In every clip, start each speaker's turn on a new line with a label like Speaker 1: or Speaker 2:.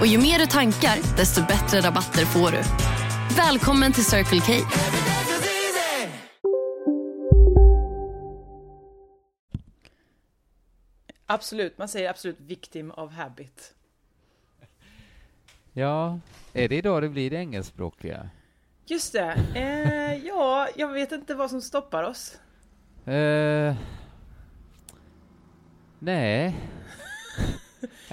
Speaker 1: Och ju mer du tankar, desto bättre rabatter får du. Välkommen till Circle K.
Speaker 2: Absolut, man säger absolut victim of habit.
Speaker 3: Ja, är det idag det blir det engelskspråkiga?
Speaker 2: Just det. Eh, ja, jag vet inte vad som stoppar oss.
Speaker 3: Eh, nej. nej.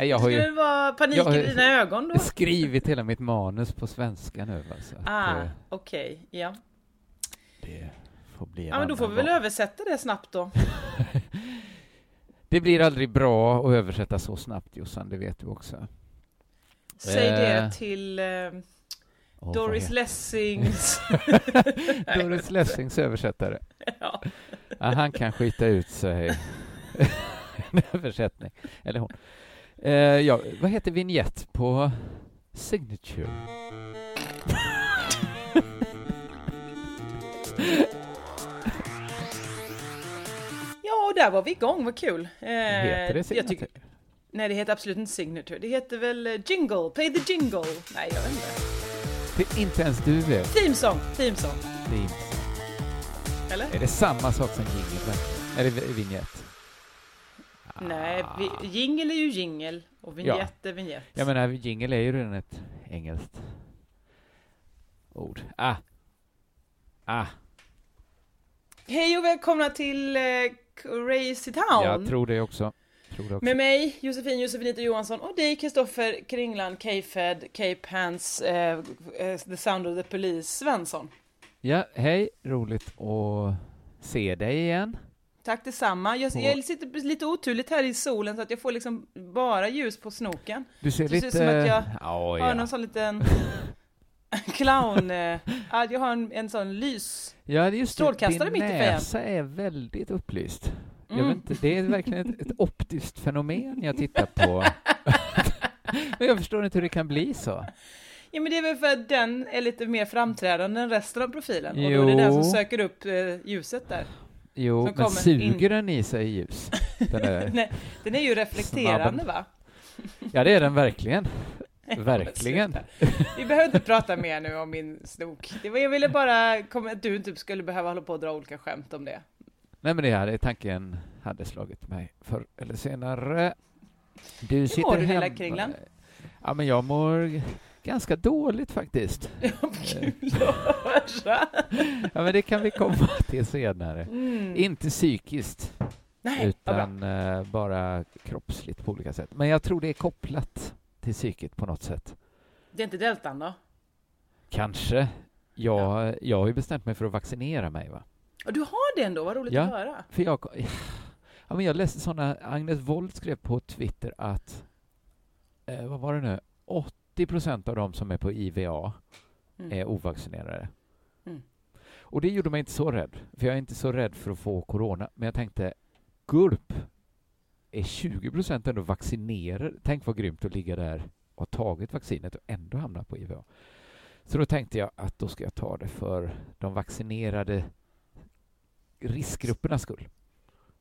Speaker 3: Jag har
Speaker 2: Skulle det
Speaker 3: ju
Speaker 2: vara panik
Speaker 3: Jag har
Speaker 2: i
Speaker 3: ju-
Speaker 2: dina ögon då?
Speaker 3: skrivit hela mitt manus på svenska nu. va, så att,
Speaker 2: Ah,
Speaker 3: eh,
Speaker 2: okej. Ja.
Speaker 3: det får bli en
Speaker 2: ja, men då får vi väl
Speaker 3: annan gång.
Speaker 2: översätta det snabbt då.
Speaker 3: Det blir aldrig bra att översätta så snabbt, Jossan, det vet du också.
Speaker 2: Säg
Speaker 3: Eh.
Speaker 2: det till eh,
Speaker 3: Åh, vad
Speaker 2: Doris
Speaker 3: heter-
Speaker 2: Lessings.
Speaker 3: Doris Lessings översättare.
Speaker 2: ja.
Speaker 3: Ja, han kan skita ut sig. En översättning. Eller hon. Eh, ja, vad heter vignett på Signature?
Speaker 2: ja, och där var vi igång, vad kul. Eh,
Speaker 3: Heter det
Speaker 2: jag
Speaker 3: Signature?
Speaker 2: tycker- Nej, det heter absolut inte signature. Det heter väl eh, jingle, play the jingle. Nej, jag vet inte.
Speaker 3: Det är inte ens du vet.
Speaker 2: Theme song, theme song.
Speaker 3: Det är, inte.
Speaker 2: Eller?
Speaker 3: är det samma sak som jingel? Eller vi- vignett?
Speaker 2: Nej, vi, jingle är ju jingle och vignett är vignett.
Speaker 3: Jag menar, jingel är ju redan ett engelskt ord. Ah. Ah,
Speaker 2: Hej och välkomna till eh, Crazy Town!
Speaker 3: jag tror det också. Tror det också.
Speaker 2: Med mig Josefin Josefinito Johansson och dig Kristoffer Kringland, K-Fed, K-Pants, eh, eh, The Sound of the Police Svensson.
Speaker 3: Ja, hej, roligt att se dig igen.
Speaker 2: Tack detsamma. Jag,
Speaker 3: Och-
Speaker 2: jag sitter lite oturligt här i solen så att jag får liksom bara ljus på snoken.
Speaker 3: Du ser
Speaker 2: Det ser
Speaker 3: lite...
Speaker 2: ut som att jag
Speaker 3: Ja,
Speaker 2: Har
Speaker 3: ja.
Speaker 2: någon sån liten clown... Eh, ja, jag har en, en sån lys.
Speaker 3: ja, det är just det.
Speaker 2: strålkastare
Speaker 3: Din
Speaker 2: mitt i fejan.
Speaker 3: näsa är väldigt upplyst. Jag
Speaker 2: Mm.
Speaker 3: vet inte, det är verkligen ett, ett optiskt fenomen jag tittar på. Men jag förstår inte hur det kan bli så.
Speaker 2: Ja men det är väl för att den är lite mer framträdande än resten av profilen. Och då är det den som
Speaker 3: Jo.
Speaker 2: söker upp eh, ljuset där.
Speaker 3: Jo,
Speaker 2: Som
Speaker 3: men
Speaker 2: kommer
Speaker 3: suger
Speaker 2: in.
Speaker 3: den i sig ljus? Den är,
Speaker 2: Nej, den är ju reflekterande
Speaker 3: Snabben.
Speaker 2: va?
Speaker 3: ja, det är den verkligen. Verkligen.
Speaker 2: Vi behöver inte prata mer nu om min snok. Det var, jag ville bara komma, att du inte skulle behöva hålla på och dra olika skämt om det.
Speaker 3: Nej, men det hade tanken hade slagit mig förr eller senare. Du Hur sitter
Speaker 2: mår du,
Speaker 3: hemma.
Speaker 2: lilla Kringlan?
Speaker 3: Ja, men jag mår ganska dåligt faktiskt.
Speaker 2: Kul att höra.
Speaker 3: Ja, men det kan vi komma till senare.
Speaker 2: Mm.
Speaker 3: Inte psykiskt,
Speaker 2: Nej, vad bra.
Speaker 3: utan eh, bara kroppsligt på olika sätt. Men jag tror det är kopplat till psyket på något sätt.
Speaker 2: Det är inte deltan då?
Speaker 3: Kanske. Jag, jag har ju bestämt mig för att vaccinera mig, va?
Speaker 2: Och du har det ändå, vad roligt
Speaker 3: Ja.
Speaker 2: att höra.
Speaker 3: För jag, ja, men jag läste såna, Agnes Wold skrev på Twitter att, eh, vad var det nu, 80 procent av de som är på IVA
Speaker 2: Mm.
Speaker 3: är ovaccinerade.
Speaker 2: Mm.
Speaker 3: Och det gjorde mig inte så rädd, för jag är inte så rädd för att få corona, men jag tänkte, gulp, är 20 procent ändå vaccinerade? Tänk vad grymt att ligga där och ha tagit vaccinet och ändå hamna på IVA. Så då tänkte jag att då ska jag ta det för de vaccinerade riskgruppernas skull.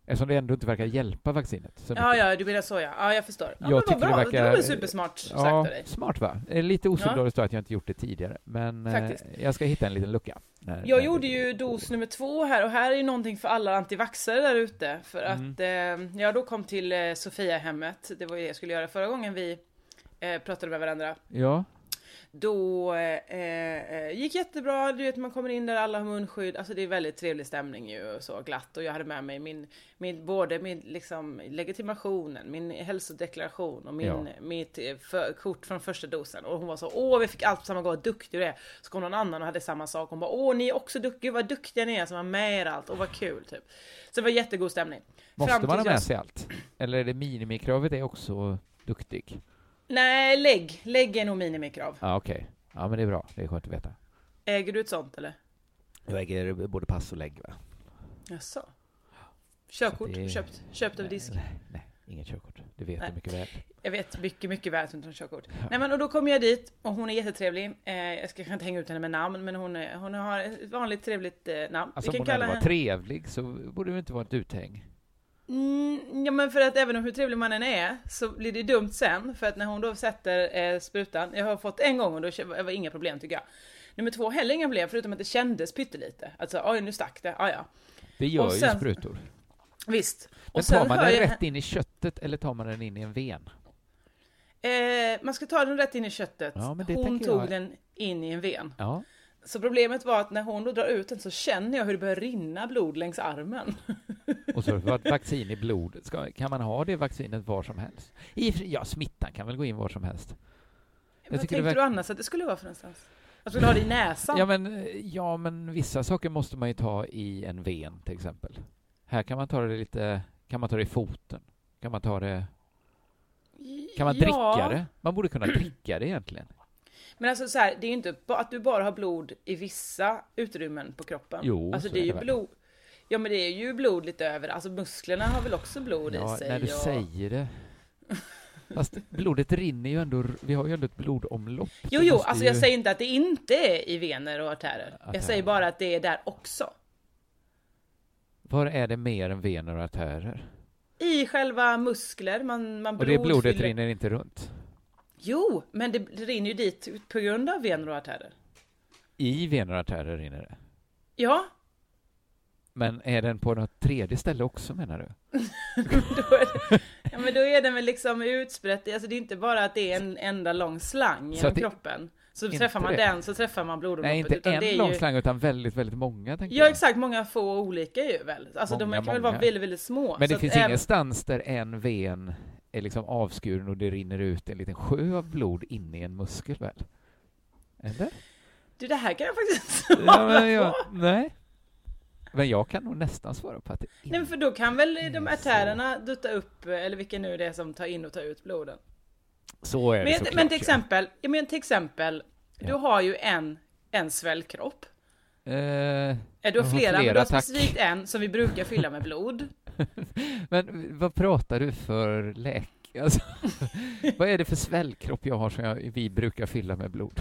Speaker 3: Eftersom det ändå inte verkar hjälpa vaccinet. Så
Speaker 2: Ja,
Speaker 3: mycket.
Speaker 2: ja, du menar så ja. Ja, jag förstår. Ja,
Speaker 3: Jag
Speaker 2: men vad
Speaker 3: tycker det
Speaker 2: bra, det,
Speaker 3: verkar-
Speaker 2: var väl supersmart sagt av
Speaker 3: Ja,
Speaker 2: dig.
Speaker 3: smart va? Det är Lite osolidariskt då att jag inte gjort det tidigare, men eh,
Speaker 2: Faktiskt.
Speaker 3: jag ska hitta en liten lucka. När-
Speaker 2: Jag
Speaker 3: när-
Speaker 2: gjorde ju dos nummer två här och här är ju någonting för alla antivaxare där ute. För att eh, jag då kom till eh, Sofiahemmet, det var ju det jag skulle göra förra gången vi eh, pratade med varandra.
Speaker 3: Ja,
Speaker 2: Då eh, eh, gick jättebra, du vet man kommer in där, alla har munskydd, alltså det är väldigt trevlig stämning ju och så glatt och jag hade med mig min, min både min liksom legitimationen, min hälsodeklaration och min,
Speaker 3: Ja.
Speaker 2: mitt eh, för, kort från första dosen och hon var så åh vi fick allt på samma gång, vad duktig du är. Så kom någon annan och hade samma sak, hon bara åh ni är också duktiga, vad duktiga ni är som var med er allt och vad kul typ. Så det var jättegod stämning.
Speaker 3: måste
Speaker 2: Fram
Speaker 3: man ha
Speaker 2: tills jag-
Speaker 3: med sig allt? Eller är det minimikravet är också duktig?
Speaker 2: Nej, lägg. Lägg är nog minimikrav.
Speaker 3: Ja, okej. Ja, men det är bra. Det är skönt att veta.
Speaker 2: Äger du ett sånt eller?
Speaker 3: Jag äger både pass och lägg, va?
Speaker 2: Jaså? Körkort?
Speaker 3: Det-
Speaker 2: Köpt? Köpt över disk?
Speaker 3: Nej, nej, inget körkort. Det vet
Speaker 2: Nej.
Speaker 3: du mycket väl.
Speaker 2: Jag vet mycket, mycket väl att hon inte har körkort. Nej men och då kommer jag dit och hon är jättetrevlig. Eh, jag ska kanske inte hänga ut henne med namn men hon, är, hon har ett vanligt trevligt eh, namn.
Speaker 3: Alltså, om hon hade varit trevlig så borde det ju inte vara ett uthäng.
Speaker 2: Mm, ja men för att även om hur trevlig man än är så blir det dumt sen för att när hon då sätter eh, sprutan, jag har fått en gång och då kä- var var inga problem tycker jag. Nummer två heller inga problem förutom att det kändes pyttelite. Alltså oj nu stack det, ah, ja
Speaker 3: Det gör
Speaker 2: Och sen-
Speaker 3: ju sprutor.
Speaker 2: visst.
Speaker 3: Men tar man
Speaker 2: hör
Speaker 3: den
Speaker 2: jag-
Speaker 3: rätt in i köttet eller tar man den in i en ven?
Speaker 2: Eh, man ska ta den rätt in i köttet.
Speaker 3: Ja, men det
Speaker 2: hon
Speaker 3: tänker
Speaker 2: tog
Speaker 3: jag.
Speaker 2: den in i en ven.
Speaker 3: Ja.
Speaker 2: Så problemet var att när hon då drar ut den så känner jag hur det börjar rinna blod längs armen.
Speaker 3: Och så har det varit vaccin i blodet. Ska, kan man ha det vaccinet var som helst? I, och för sig- ja, smittan kan väl gå in var som helst?
Speaker 2: Vad
Speaker 3: tycker
Speaker 2: tänkte
Speaker 3: det verk-
Speaker 2: du annars att det skulle vara för någonstans? Att du skulle ha det i näsan?
Speaker 3: Ja men, eh, ja, men vissa saker måste man ju ta i en ven till exempel. Här kan man ta det lite, kan man ta det i foten? Kan man ta det, kan man
Speaker 2: Ja.
Speaker 3: dricka det? Man borde kunna dricka det egentligen.
Speaker 2: Men alltså så här, det är ju inte bara att du bara har blod i vissa utrymmen på kroppen.
Speaker 3: Jo,
Speaker 2: alltså
Speaker 3: så
Speaker 2: det är
Speaker 3: är
Speaker 2: ju
Speaker 3: det väl.
Speaker 2: blod. Ja men det är ju blod lite över, alltså musklerna har väl också blod
Speaker 3: Ja,
Speaker 2: i sig.
Speaker 3: när du
Speaker 2: och...
Speaker 3: säger det. Fast blodet rinner ju ändå, vi har ju ändå ett blodomlopp.
Speaker 2: Jo
Speaker 3: Det
Speaker 2: jo,
Speaker 3: måste
Speaker 2: alltså
Speaker 3: ju-
Speaker 2: jag säger inte att det inte är i vener och artärer.
Speaker 3: Artärer.
Speaker 2: Jag säger bara att det är där också.
Speaker 3: Var är det mer än vener och artärer?
Speaker 2: I själva muskler, man, man
Speaker 3: Och det blodet
Speaker 2: fyller-
Speaker 3: rinner inte runt?
Speaker 2: Jo, men det rinner ju dit på grund av vener och artärer.
Speaker 3: I vener och artärer rinner det?
Speaker 2: Ja,
Speaker 3: Men är den på något tredje ställe också menar du?
Speaker 2: då är det, ja, men då är den väl liksom utsprätt. Alltså det är inte bara att det är en enda lång slang
Speaker 3: Så att
Speaker 2: genom
Speaker 3: det-
Speaker 2: kroppen. Så
Speaker 3: inte
Speaker 2: träffar man
Speaker 3: det.
Speaker 2: den så träffar man blodomloppet.
Speaker 3: Nej, inte
Speaker 2: utan
Speaker 3: en
Speaker 2: det är
Speaker 3: lång
Speaker 2: ju,
Speaker 3: slang utan väldigt, väldigt många tänker
Speaker 2: Ja
Speaker 3: jag.
Speaker 2: exakt, många få olika ju väl. Alltså de
Speaker 3: Många,
Speaker 2: kan väl
Speaker 3: många.
Speaker 2: vara väldigt, väldigt små.
Speaker 3: Men det
Speaker 2: Så
Speaker 3: finns
Speaker 2: att även-
Speaker 3: ingenstans där en ven är liksom avskuren och det rinner ut en liten sjö av blod inne i en muskel väl? Eller?
Speaker 2: Du det här kan jag faktiskt
Speaker 3: Ja, men jag, nej. Men jag kan nog nästan svara på att det
Speaker 2: Nej men
Speaker 3: inte-
Speaker 2: för då kan väl de
Speaker 3: Mm, så.
Speaker 2: artärerna dutta upp, eller vilken nu det är som tar in och tar ut bloden.
Speaker 3: så är det
Speaker 2: Men,
Speaker 3: såklart,
Speaker 2: men till
Speaker 3: ja.
Speaker 2: exempel, ja, men till exempel du
Speaker 3: Ja.
Speaker 2: har ju en, en svällkropp.
Speaker 3: Eh,
Speaker 2: Eh, Du
Speaker 3: Jag
Speaker 2: har flera,
Speaker 3: har flera,
Speaker 2: men du har
Speaker 3: tack.
Speaker 2: specifikt en som vi brukar fylla med blod.
Speaker 3: men vad pratar du för läk? Alltså, vad är det för svällkropp jag har som jag, vi brukar fylla med blod?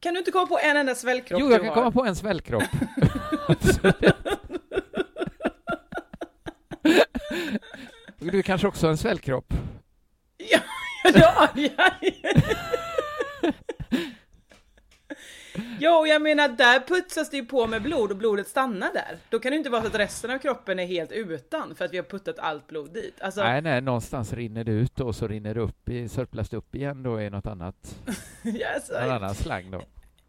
Speaker 2: Kan du inte komma på en enda svällkropp
Speaker 3: Jo, jag
Speaker 2: du
Speaker 3: kan
Speaker 2: har?
Speaker 3: komma på en svällkropp. Absolut. Du kanske också har en svällkropp?
Speaker 2: Ja, ja, ja. Jo, jag menar där putsas det ju på med blod och blodet stannar där. Då kan det ju inte vara så att resten av kroppen är helt utan för att vi har puttat allt blod dit. Alltså,
Speaker 3: Nej, nej, någonstans rinner det ut då, och så rinner det upp i, sörplas det upp igen då i något annat,
Speaker 2: ja, alltså,
Speaker 3: någon annan slang då.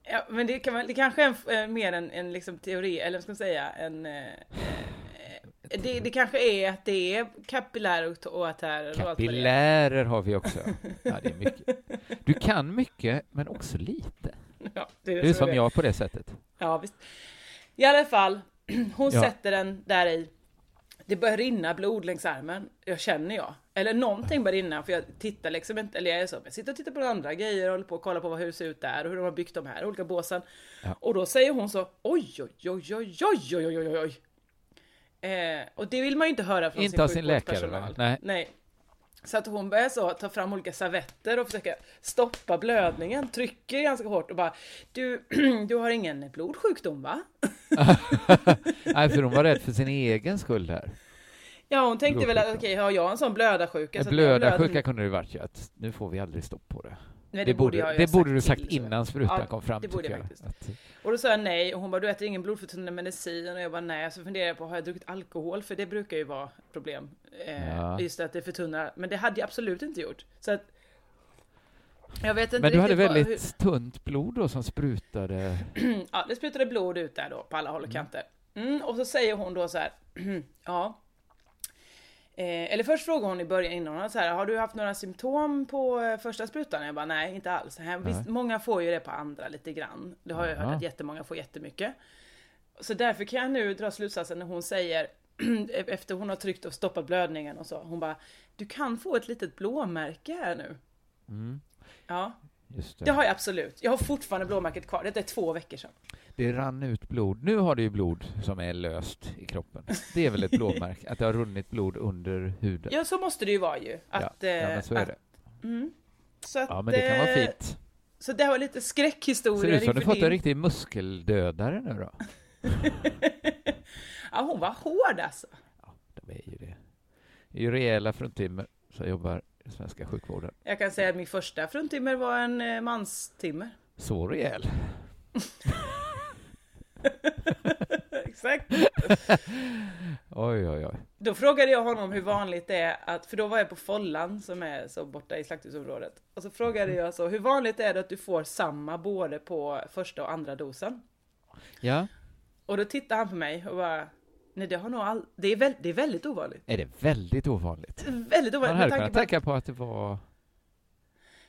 Speaker 2: ja, men det, kan, man- det kanske är en, eh, mer en, en liksom teori, eller vad ska man säga, en... Eh, eh, det, det kanske är att det är kapillärer och- och artärer och allt vad det är.
Speaker 3: Kapillärer har vi också. Ja, det är mycket. Du kan mycket, men också lite.
Speaker 2: Ja, det är, det
Speaker 3: Du är
Speaker 2: som
Speaker 3: som
Speaker 2: är.
Speaker 3: jag på det sättet.
Speaker 2: Ja visst. I alla fall, hon
Speaker 3: Ja.
Speaker 2: sätter den där i. Det börjar rinna blod längs armen, jag känner jag. Eller någonting börjar rinna för jag tittar liksom inte, eller jag är så, jag sitter och tittar på andra grejer och håller på och kollar på vad hur det ser ut där och hur de har byggt de här olika båsen.
Speaker 3: Ja.
Speaker 2: Och då säger hon så, oj oj oj oj oj oj oj oj oj. Eh, och det vill man ju inte höra från
Speaker 3: Inte
Speaker 2: sin
Speaker 3: av sin läkare,
Speaker 2: sjukvårdspersonal.
Speaker 3: va? Nej.
Speaker 2: Nej. Så att hon börjar så ta fram olika servetter och försöka stoppa blödningen, trycker ganska hårt och bara Du, du har ingen blodsjukdom va?
Speaker 3: Nej, för hon var rädd för sin egen skull här.
Speaker 2: Ja hon tänkte väl att okej,
Speaker 3: Blodsjukdom.
Speaker 2: har jag en sån blödarsjuka?
Speaker 3: En
Speaker 2: så att jag
Speaker 3: blödarsjuka kunde det varit ju att nu får vi aldrig stopp på det.
Speaker 2: Nej,
Speaker 3: Det
Speaker 2: jag
Speaker 3: borde,
Speaker 2: ju ha
Speaker 3: det borde du sagt
Speaker 2: till, så.
Speaker 3: innan sprutan
Speaker 2: Ja,
Speaker 3: kom fram,
Speaker 2: det borde
Speaker 3: tycker
Speaker 2: jag
Speaker 3: jag.
Speaker 2: faktiskt.
Speaker 3: Att-
Speaker 2: Och då sa jag nej och hon bara du äter ingen blodförtunnande medicin och jag bara nej så funderar jag på har jag druckit alkohol för det brukar ju vara ett problem. Eh,
Speaker 3: Ja.
Speaker 2: Just att det förtunnar men det hade jag absolut inte gjort. Så att jag vet inte
Speaker 3: Men du hade
Speaker 2: riktigt vad-
Speaker 3: väldigt
Speaker 2: hur-
Speaker 3: tunt blod då som sprutade.
Speaker 2: Ja, det sprutade blod ut där då på alla håll och kanter. Mm, och så säger hon då så här, ja. Eh, eller först frågar hon i början innan hon så här, har du haft några symptom på eh, första sprutan? Jag bara, nej inte alls. Nej, visst, många får ju det på andra lite grann. Det har jag hört
Speaker 3: Aha.
Speaker 2: att jättemånga får jättemycket. Så därför kan jag nu dra slutsatsen när hon säger, e-, efter hon har tryckt och stoppat blödningen och så, hon bara, du kan få ett litet blåmärke här nu.
Speaker 3: Mm,
Speaker 2: Ja,
Speaker 3: just det.
Speaker 2: det har jag absolut. Jag har fortfarande blåmärket kvar. Detta är två veckor sedan.
Speaker 3: Det rann ut blod. Nu har du ju blod som är löst i kroppen. Det är väl ett blåmärke, att det har runnit blod under huden.
Speaker 2: Ja, så måste det ju vara ju. Att,
Speaker 3: ja, ja,
Speaker 2: eh,
Speaker 3: men så är
Speaker 2: att,
Speaker 3: det.
Speaker 2: Mm. Så att,
Speaker 3: Ja, men det kan vara
Speaker 2: eh,
Speaker 3: fint.
Speaker 2: Så det var lite
Speaker 3: Ser
Speaker 2: skräckhistorier
Speaker 3: ut som du
Speaker 2: inför
Speaker 3: fått en
Speaker 2: din-
Speaker 3: riktig muskeldödare nu då.
Speaker 2: ja, hon var hård alltså.
Speaker 3: De är ju det. Det är ju rejäla fruntimmer som jobbar i svenska sjukvården.
Speaker 2: Jag kan säga att min första fruntimmer var en eh, manstimmer.
Speaker 3: Så rejäl.
Speaker 2: Exakt.
Speaker 3: Oj, oj, oj.
Speaker 2: Då frågade jag honom hur vanligt det är att, för då var jag på Follan som är så borta i slakthusområdet. Och så
Speaker 3: Mm.
Speaker 2: frågade jag så, hur vanligt är det att du får samma både på första och andra dosen?
Speaker 3: Ja,
Speaker 2: Och då tittade han på mig och bara, nej det har nog all... det, är väl... det är väldigt ovanligt.
Speaker 3: är det väldigt ovanligt.
Speaker 2: Väldigt ovanligt
Speaker 3: Man
Speaker 2: med
Speaker 3: hade
Speaker 2: tanke
Speaker 3: kunnat
Speaker 2: på
Speaker 3: tänka på att det var...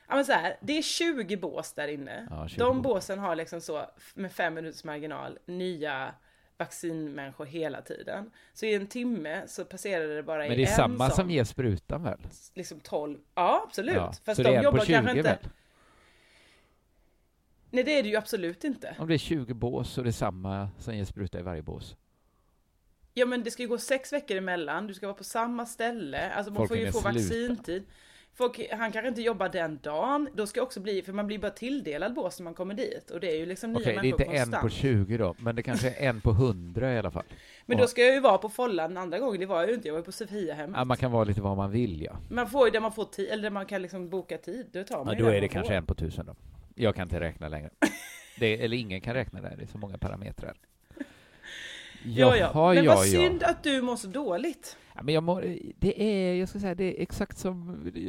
Speaker 2: Ja men så här, det är 20 bås där inne.
Speaker 3: Ja, 20
Speaker 2: De
Speaker 3: bås.
Speaker 2: båsen har liksom så med fem minuters marginal nya vaccinmänniskor hela tiden. Så i en timme så passerade det bara i
Speaker 3: Men det är
Speaker 2: en
Speaker 3: samma
Speaker 2: sån,
Speaker 3: som ger sprutan väl?
Speaker 2: liksom 12. Ja absolut.
Speaker 3: Ja,
Speaker 2: Fast de
Speaker 3: så det är en
Speaker 2: jobbar
Speaker 3: på 20
Speaker 2: kanske inte.
Speaker 3: väl?
Speaker 2: Nej det är det ju absolut inte.
Speaker 3: Om det är 20 bås så är det samma som ger spruta i varje bås.
Speaker 2: Ja men det ska ju gå sex veckor emellan, du ska vara på samma ställe, alltså man
Speaker 3: Folk
Speaker 2: får ju
Speaker 3: hinner
Speaker 2: få
Speaker 3: sluta.
Speaker 2: vaccintid. Folk, han kanske inte jobbar den dagen, då ska jag också bli, för man blir bara tilldelad bås när man kommer dit. Och det är ju liksom nya
Speaker 3: Okej, det är
Speaker 2: människor
Speaker 3: inte en
Speaker 2: konstant.
Speaker 3: på 20 då, men det kanske är en på 100 i alla fall.
Speaker 2: Men då ska jag ju vara på Follan andra gången, det var jag ju inte, jag var ju på Sofiahem.
Speaker 3: Ja, man kan vara lite vad man vill, ja.
Speaker 2: Man får ju där man får tid, eller där man kan liksom boka tid, då tar man
Speaker 3: ja
Speaker 2: ju
Speaker 3: då
Speaker 2: där
Speaker 3: är
Speaker 2: man
Speaker 3: det
Speaker 2: får.
Speaker 3: kanske en på 1000 då. Jag kan inte räkna längre. Det, eller ingen kan räkna där, det är så många parametrar.
Speaker 2: Ja, ja.
Speaker 3: Jaha,
Speaker 2: Men
Speaker 3: ja,
Speaker 2: vad
Speaker 3: ja.
Speaker 2: synd att du mår så dåligt.
Speaker 3: Ja, men jag mår, det är, jag ska säga, det är exakt som i-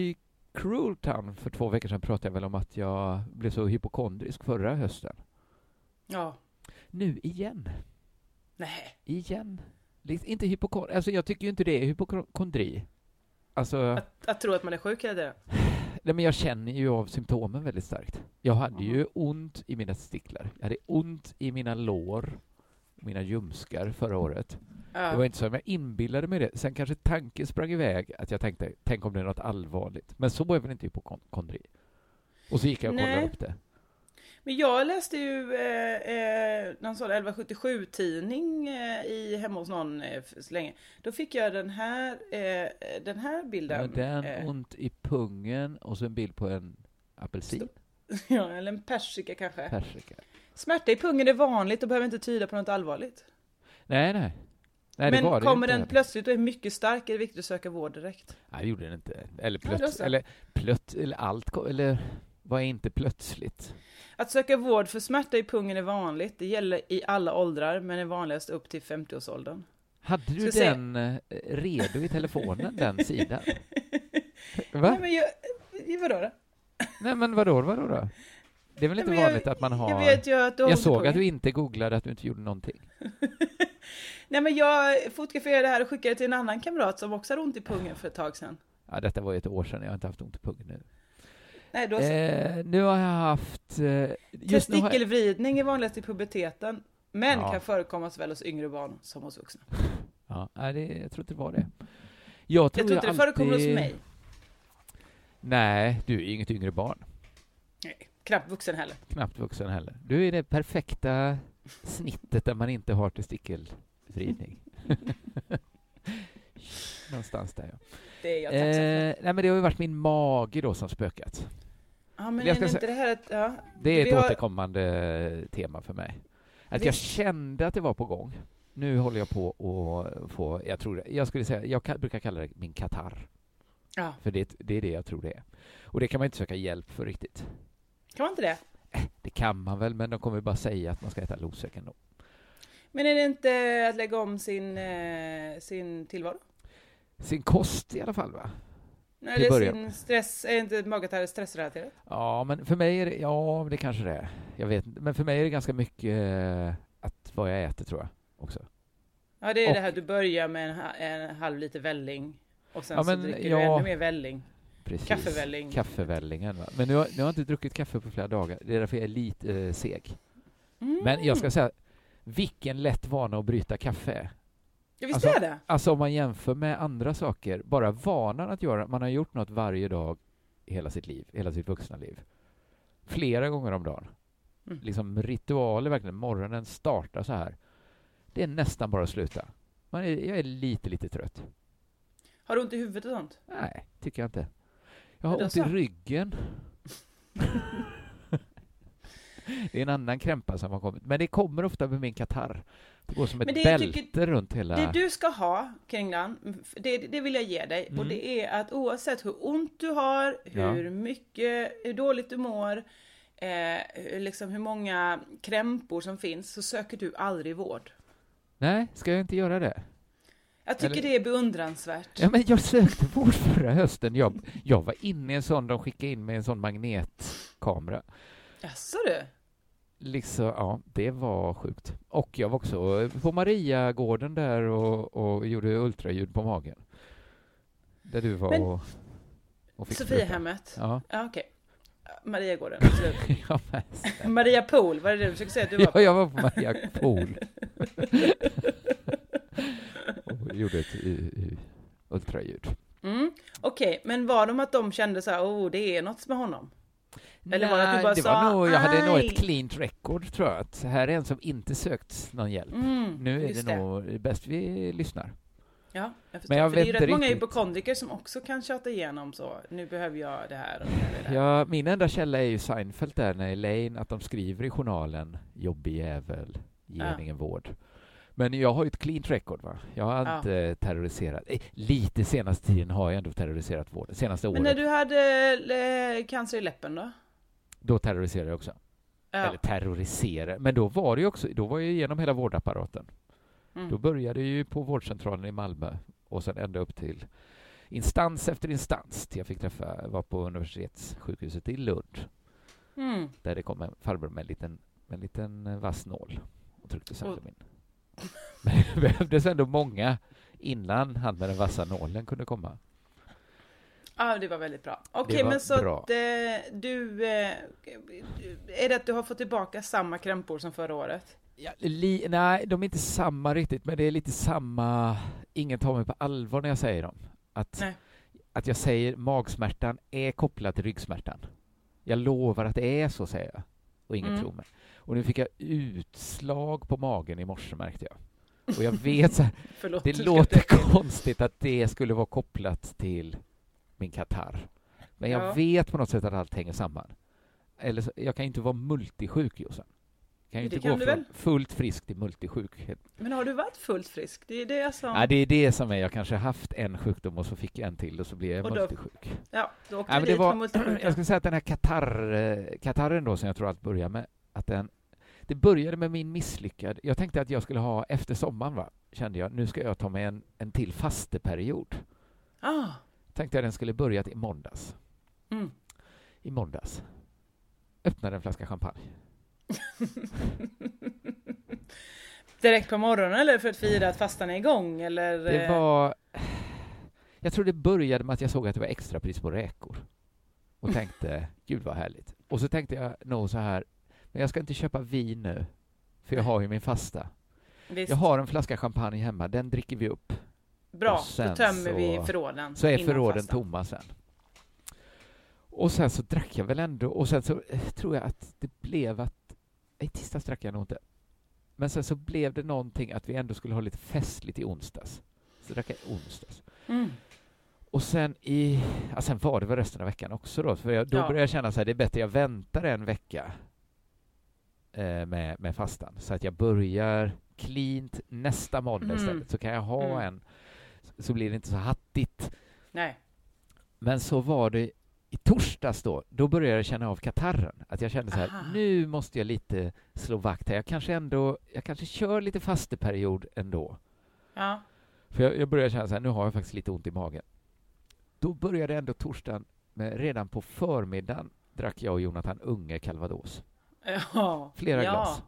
Speaker 3: i Cruel Town för två veckor sedan pratade jag väl om att jag blev så hypokondrisk förra hösten.
Speaker 2: Ja,
Speaker 3: Nu igen,
Speaker 2: nej.
Speaker 3: igen. Liks- Inte hypokondri, alltså jag tycker ju inte det är hypokondri. Alltså,
Speaker 2: Att, att tro att man är sjuk hela tiden.
Speaker 3: nej, men jag känner ju av symptomen väldigt starkt. Jag hade ju ont i mina sticklar. Jag hade ont i mina lår, mina ljumskar förra året. Det var
Speaker 2: Ja.
Speaker 3: inte så, men jag inbillade mig det. Sen kanske tanken sprang iväg att jag tänkte, tänk om det är något allvarligt. Men så var jag väl inte hypokondri. Och så gick jag och kollade
Speaker 2: Nej.
Speaker 3: upp det.
Speaker 2: Men jag läste ju eh, eh, någon sån 1177-tidning eh, i, hemma hos någon eh, för så länge. Då fick jag den här, eh, den här
Speaker 3: Den,
Speaker 2: bilden.
Speaker 3: den
Speaker 2: eh,
Speaker 3: ont i pungen och så en bild på en apelsin,
Speaker 2: ja, eller en persika kanske.
Speaker 3: persika.
Speaker 2: Smärta i pungen är vanligt och behöver inte tyda på något allvarligt.
Speaker 3: Nej, nej. nej det
Speaker 2: Men
Speaker 3: var det ju
Speaker 2: kommer
Speaker 3: inte
Speaker 2: den
Speaker 3: heller.
Speaker 2: plötsligt och är mycket stark är det viktigt att söka vård direkt.
Speaker 3: Nej, det gjorde den inte. Eller
Speaker 2: Ja, då
Speaker 3: plötsligt,
Speaker 2: så.
Speaker 3: eller plött, eller allt, kom- eller vad är inte plötsligt?
Speaker 2: Att söka vård för smärta i pungen är vanligt. Det gäller i alla åldrar men är vanligast upp till 50-årsåldern.
Speaker 3: Hade du
Speaker 2: Ska se.
Speaker 3: den eh, redo i telefonen, den sidan?
Speaker 2: Nej
Speaker 3: Va?
Speaker 2: men jag, eh, vadå då?
Speaker 3: Nej, men vadå, vadå då? Det är väl
Speaker 2: Nej,
Speaker 3: inte
Speaker 2: men jag-
Speaker 3: vanligt att man har...
Speaker 2: Jag vet ju att du har
Speaker 3: Jag
Speaker 2: ont i
Speaker 3: såg
Speaker 2: pungen.
Speaker 3: att du inte googlade att du inte gjorde någonting.
Speaker 2: Nej men jag fotograferade det här och skickade till en annan kamrat som också hade ont i pungen för ett tag sedan.
Speaker 3: Ja, detta var ju ett år sedan, jag har inte haft ont i pungen nu.
Speaker 2: Nej då så.
Speaker 3: Eh, nu har jag haft... Eh, just nu har jag,
Speaker 2: Testikelvridning är vanligast i puberteten. Men
Speaker 3: Ja.
Speaker 2: kan förekomma såväl hos yngre barn som hos vuxna.
Speaker 3: ja, nej, det, jag tror inte det var det. Jag tror
Speaker 2: Jag tror inte det förekommer
Speaker 3: alltid,
Speaker 2: hos mig.
Speaker 3: Nej, du är inget yngre barn.
Speaker 2: Nej, knappt vuxen heller.
Speaker 3: Knappt vuxen heller. Du är det perfekta snittet där man inte har testikelvridning. Någonstans där, ja.
Speaker 2: Det är jag
Speaker 3: eh,
Speaker 2: tacksam för.
Speaker 3: nej, men det har ju varit min mage då som spökat.
Speaker 2: Ja men
Speaker 3: jag
Speaker 2: är
Speaker 3: ska
Speaker 2: inte
Speaker 3: säga-
Speaker 2: det här ett... Ja,
Speaker 3: Det är
Speaker 2: Vi
Speaker 3: ett
Speaker 2: har-
Speaker 3: återkommande eh, tema för mig. Att jag
Speaker 2: Visst.
Speaker 3: kände att det var på gång. Nu håller jag på att få, jag tror det, jag skulle säga, jag ka- brukar kalla det min katarr.
Speaker 2: ja.
Speaker 3: För det, det är det jag tror det är. Och det kan man inte söka hjälp för riktigt.
Speaker 2: Kan man inte det?
Speaker 3: Det kan man väl, men de kommer bara säga att man ska äta Losec ändå.
Speaker 2: Men är det inte att lägga om sin, eh, sin tillvaro?
Speaker 3: Sin kost i alla fall, va?
Speaker 2: Nej,
Speaker 3: Till
Speaker 2: det är
Speaker 3: början.
Speaker 2: sin stress, är inte magatarr stressrelaterat?
Speaker 3: Ja, men för mig är det, ja, det kanske det är. Jag vet inte, men för mig är det ganska mycket eh, att vad jag äter, tror jag. Också.
Speaker 2: Ja, det är
Speaker 3: Och-
Speaker 2: det här du börjar med en, ha- en halv liter välling och sen
Speaker 3: Ja,
Speaker 2: så
Speaker 3: men
Speaker 2: dricker du
Speaker 3: jag-
Speaker 2: ännu mer välling.
Speaker 3: Precis.
Speaker 2: Kaffevälling.
Speaker 3: Kaffevällingen. Va? Men nu har, nu har jag inte druckit kaffe på flera dagar. Det är därför jag är lite eh, seg.
Speaker 2: Mm.
Speaker 3: Men jag ska säga, vilken lätt vana att bryta kaffe.
Speaker 2: Ja, visst
Speaker 3: alltså-
Speaker 2: är det?
Speaker 3: Alltså om man jämför med andra saker, bara vanan att göra, man har gjort något varje dag i hela sitt liv, hela sitt vuxna liv. Flera gånger om dagen.
Speaker 2: Mm.
Speaker 3: Liksom ritualer verkligen. Morgonen startar så här. Det är nästan bara att sluta. Man är, jag är lite, lite trött.
Speaker 2: Har du ont i huvudet och sånt?
Speaker 3: Nej, tycker jag inte. Jag har
Speaker 2: Men då
Speaker 3: ont i
Speaker 2: så.
Speaker 3: ryggen. det är en annan krämpa som har kommit. Men det kommer ofta med min katarr. Det går som ett
Speaker 2: Men det jag
Speaker 3: bälte
Speaker 2: tycker-
Speaker 3: runt hela...
Speaker 2: Det du ska ha, Kringlan, det, det vill jag ge dig. Och det är att oavsett hur ont du har, hur
Speaker 3: Mm. Ja.
Speaker 2: mycket, hur dåligt du mår, eh, hur- liksom hur många krämpor som finns, så söker du aldrig vård.
Speaker 3: Nej, ska jag inte göra det?
Speaker 2: Jag tycker
Speaker 3: Eller-
Speaker 2: det är beundransvärt.
Speaker 3: Ja, men jag sökte vård förra hösten. Jag, jag var inne i en sån, de skickade in med en sån magnetkamera.
Speaker 2: Jaså du?
Speaker 3: Liksom, ja, det var sjukt. Och jag var också på Mariagården där och, och gjorde ultraljud på magen. Där du var
Speaker 2: Men-
Speaker 3: och, och fick spruta.
Speaker 2: Sofiahemmet? Ja,
Speaker 3: Ja.
Speaker 2: okej. Mariagården, absolut.
Speaker 3: Ja, men,
Speaker 2: Maria Pool, var det det du försökte säga att du var?
Speaker 3: ja, jag var på Maria Pool. och gjorde ett i, i, ultraljud.
Speaker 2: Mm. Okej, men var de att de kände så här, oh det är något med honom? Eller var det att du
Speaker 3: Nej,
Speaker 2: bara
Speaker 3: det
Speaker 2: sa,
Speaker 3: var nog, jag hade nog
Speaker 2: "Aj."
Speaker 3: ett cleant record tror jag. Att här är en som inte sökt någon hjälp.
Speaker 2: Mm,
Speaker 3: Nu är
Speaker 2: just
Speaker 3: det nog bäst vi lyssnar.
Speaker 2: Ja, jag förstår.
Speaker 3: Men jag
Speaker 2: För det är ju
Speaker 3: vet
Speaker 2: rätt
Speaker 3: inte
Speaker 2: många
Speaker 3: riktigt.
Speaker 2: hypokondriker som också kan tjata igenom så, nu behöver jag det här och det här. och Det här.
Speaker 3: Ja, min enda källa är ju Seinfeld där när Elaine, att de skriver i journalen jobbig jävel, ger
Speaker 2: Ja.
Speaker 3: ingen vård. Men jag har ju ett cleant record va? Jag har
Speaker 2: Ja.
Speaker 3: inte terroriserat, eh, lite senaste tiden har jag ändå terroriserat vården, senaste
Speaker 2: Men
Speaker 3: året,
Speaker 2: när du hade eh, cancer i läppen då?
Speaker 3: då terroriserade jag också.
Speaker 2: Ja.
Speaker 3: Eller terrorisera, men då var det ju också, då var jag ju igenom hela vårdapparaten.
Speaker 2: Mm.
Speaker 3: Då började jag ju på vårdcentralen i Malmö och sen ända upp till instans efter instans till jag fick träffa, var på universitetssjukhuset i Lund.
Speaker 2: Mm.
Speaker 3: där det kom en farbror med en liten, med en liten eh, vass nål och tryckte sönder
Speaker 2: Och-
Speaker 3: min. Men det behövdes ändå många innan han med den vassa nålen kunde komma.
Speaker 2: Ja, det var väldigt bra. Okej,
Speaker 3: Det var
Speaker 2: men så
Speaker 3: bra.
Speaker 2: att eh, du... Eh, är det att du har fått tillbaka samma krämpor som förra året?
Speaker 3: Ja, li, nej, de är inte samma riktigt, men det är lite samma... Ingen tar mig på allvar när jag säger dem. Att,
Speaker 2: Nej.
Speaker 3: att jag säger magsmärtan är kopplad till ryggsmärtan. Jag lovar att det är så, säger jag. Och ingen
Speaker 2: Mm.
Speaker 3: tror mig. Och nu fick jag utslag på magen i morse, märkte jag. Och jag vet så här,
Speaker 2: Förlåt.
Speaker 3: Det
Speaker 2: nu ska jag
Speaker 3: låter
Speaker 2: inte-
Speaker 3: konstigt att det skulle vara kopplat till min Qatar. Men jag
Speaker 2: Ja.
Speaker 3: vet på något sätt att allt hänger samman. Eller så, jag kan ju inte vara multisjuk, Jossan. Kan ju
Speaker 2: Det
Speaker 3: inte
Speaker 2: kan
Speaker 3: gå
Speaker 2: du
Speaker 3: från
Speaker 2: väl?
Speaker 3: fullt frisk till multisjuk. Helt-
Speaker 2: Men har du varit fullt frisk? Det är det som...
Speaker 3: Nej, det är det som är, jag kanske haft en sjukdom och så fick jag en till och så blev jag
Speaker 2: Och då-
Speaker 3: multisjuk.
Speaker 2: Ja, då åkte vi
Speaker 3: Nej, men
Speaker 2: dit var... för
Speaker 3: det var, jag
Speaker 2: multisjuka.
Speaker 3: skulle säga att den här Qatar, eh, Qatarren då som jag tror allt börjar med, att den, det började med min misslyckad, jag tänkte att jag skulle ha efter sommaren va, kände jag, nu ska jag ta mig en, en till fasteperiod.
Speaker 2: Ah,
Speaker 3: Tänkte jag den skulle börjat i måndags.
Speaker 2: mm.
Speaker 3: I måndags. Öppnade en flaska champagne.
Speaker 2: Direkt på morgonen eller för att fira att fastan är igång eller?
Speaker 3: Det
Speaker 2: eh,
Speaker 3: var... Jag tror det började med att jag såg att det var extrapris på räkor. Och tänkte, gud vad härligt. Och så tänkte jag nog så här, men jag ska inte köpa vin nu, för jag har ju min fasta.
Speaker 2: visst.
Speaker 3: Jag har en flaska champagne hemma, den dricker vi upp.
Speaker 2: Bra,
Speaker 3: Och sen
Speaker 2: då tömmer vi
Speaker 3: så-
Speaker 2: förråden.
Speaker 3: Så är
Speaker 2: innan
Speaker 3: förråden
Speaker 2: fastan.
Speaker 3: tomma sen. Och sen så drack jag väl ändå, och sen så eh, tror jag att det blev att... I tisdags drack jag nog inte. Men sen så blev det någonting att vi ändå skulle ha lite festligt i onsdags. Så drack jag i onsdags.
Speaker 2: Mm.
Speaker 3: Och sen i... Ja, sen var det väl resten av veckan också då, för jag, då
Speaker 2: Ja.
Speaker 3: började jag känna så här, det är bättre jag väntar en vecka eh, med, med fastan, så att jag börjar cleant nästa måndag
Speaker 2: Mm.
Speaker 3: istället, så kan jag ha
Speaker 2: Mm.
Speaker 3: en, så blir det inte så hattigt.
Speaker 2: Nej.
Speaker 3: Men så var det i torsdags då, då började jag känna av katarren. Att jag kände så här,
Speaker 2: Aha.
Speaker 3: nu måste jag lite slå vakt här. Jag kanske ändå, jag kanske kör lite fasteperiod ändå.
Speaker 2: Ja.
Speaker 3: För jag, jag började känna så här, nu har jag faktiskt lite ont i magen. Då började ändå torsdagen, med, redan på förmiddagen drack jag och Jonathan Unge Calvados.
Speaker 2: Ja.
Speaker 3: Flera
Speaker 2: ja.
Speaker 3: glas.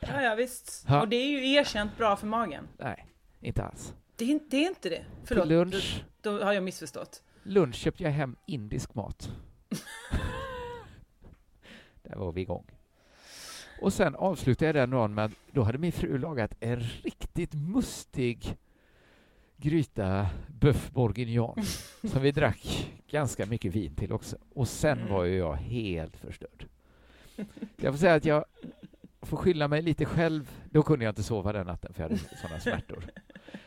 Speaker 2: Ja, ja visst.
Speaker 3: Ja.
Speaker 2: Och det är ju erkänt bra för magen.
Speaker 3: Nej, inte alls.
Speaker 2: Det är, det är inte det. Förlåt,
Speaker 3: Till lunch,
Speaker 2: Då, då har jag missförstått.
Speaker 3: lunch köpte jag hem indisk mat. Där var vi igång. Och sen avslutade jag den dagen med att då hade min fru lagat en riktigt mustig gryta bœuf bourguignon som vi drack ganska mycket vin till också. Och sen var ju jag helt förstörd. Jag får säga att jag får skylla mig lite själv. Då kunde jag inte sova den natten för jag hade sådana smärtor.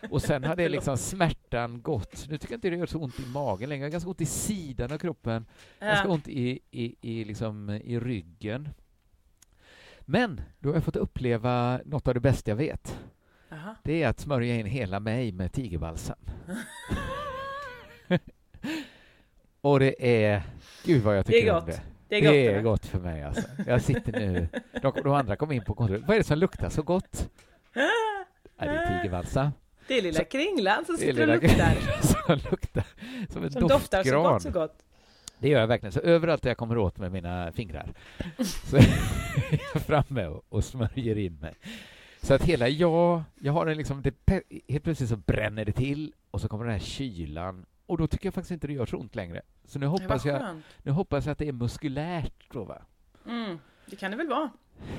Speaker 3: Och sen hade jag liksom smärtan gått. Nu tycker jag inte det gör så ont i magen längre. Jag har ganska ont i sidan av kroppen. Ganska
Speaker 2: Ja.
Speaker 3: ont i, i, i, liksom, i ryggen. Men då har jag fått uppleva något av det bästa jag vet.
Speaker 2: Jaha.
Speaker 3: Det är att smörja in hela mig med tigerbalsam. Och det är... Gud vad jag
Speaker 2: Det är
Speaker 3: tycker om
Speaker 2: gott.
Speaker 3: det.
Speaker 2: Det är gott.
Speaker 3: det är
Speaker 2: eller?
Speaker 3: gott för mig alltså. Jag sitter nu... De, de andra kom in på kontoret. Vad är det som luktar så gott? Ja, det är tigerbalsam.
Speaker 2: Det är lilla
Speaker 3: Så-
Speaker 2: kringlan som
Speaker 3: Det är
Speaker 2: sitter och
Speaker 3: lilla-
Speaker 2: luktar.
Speaker 3: som luktar som en
Speaker 2: Som doftar så
Speaker 3: doftgran.
Speaker 2: gott, så gott.
Speaker 3: Det gör jag verkligen. Så överallt där jag kommer åt med mina fingrar så är jag framme och, och smörjer in mig. Så att hela jag, jag har en liksom, det, pe- helt plötsligt så bränner det till och så kommer den här kylan och då tycker jag faktiskt inte det gör så ont längre. Så nu
Speaker 2: Det var
Speaker 3: hoppas jag,
Speaker 2: skönt.
Speaker 3: nu hoppas jag att det är muskulärt då va?
Speaker 2: Mm. Det kan det väl vara.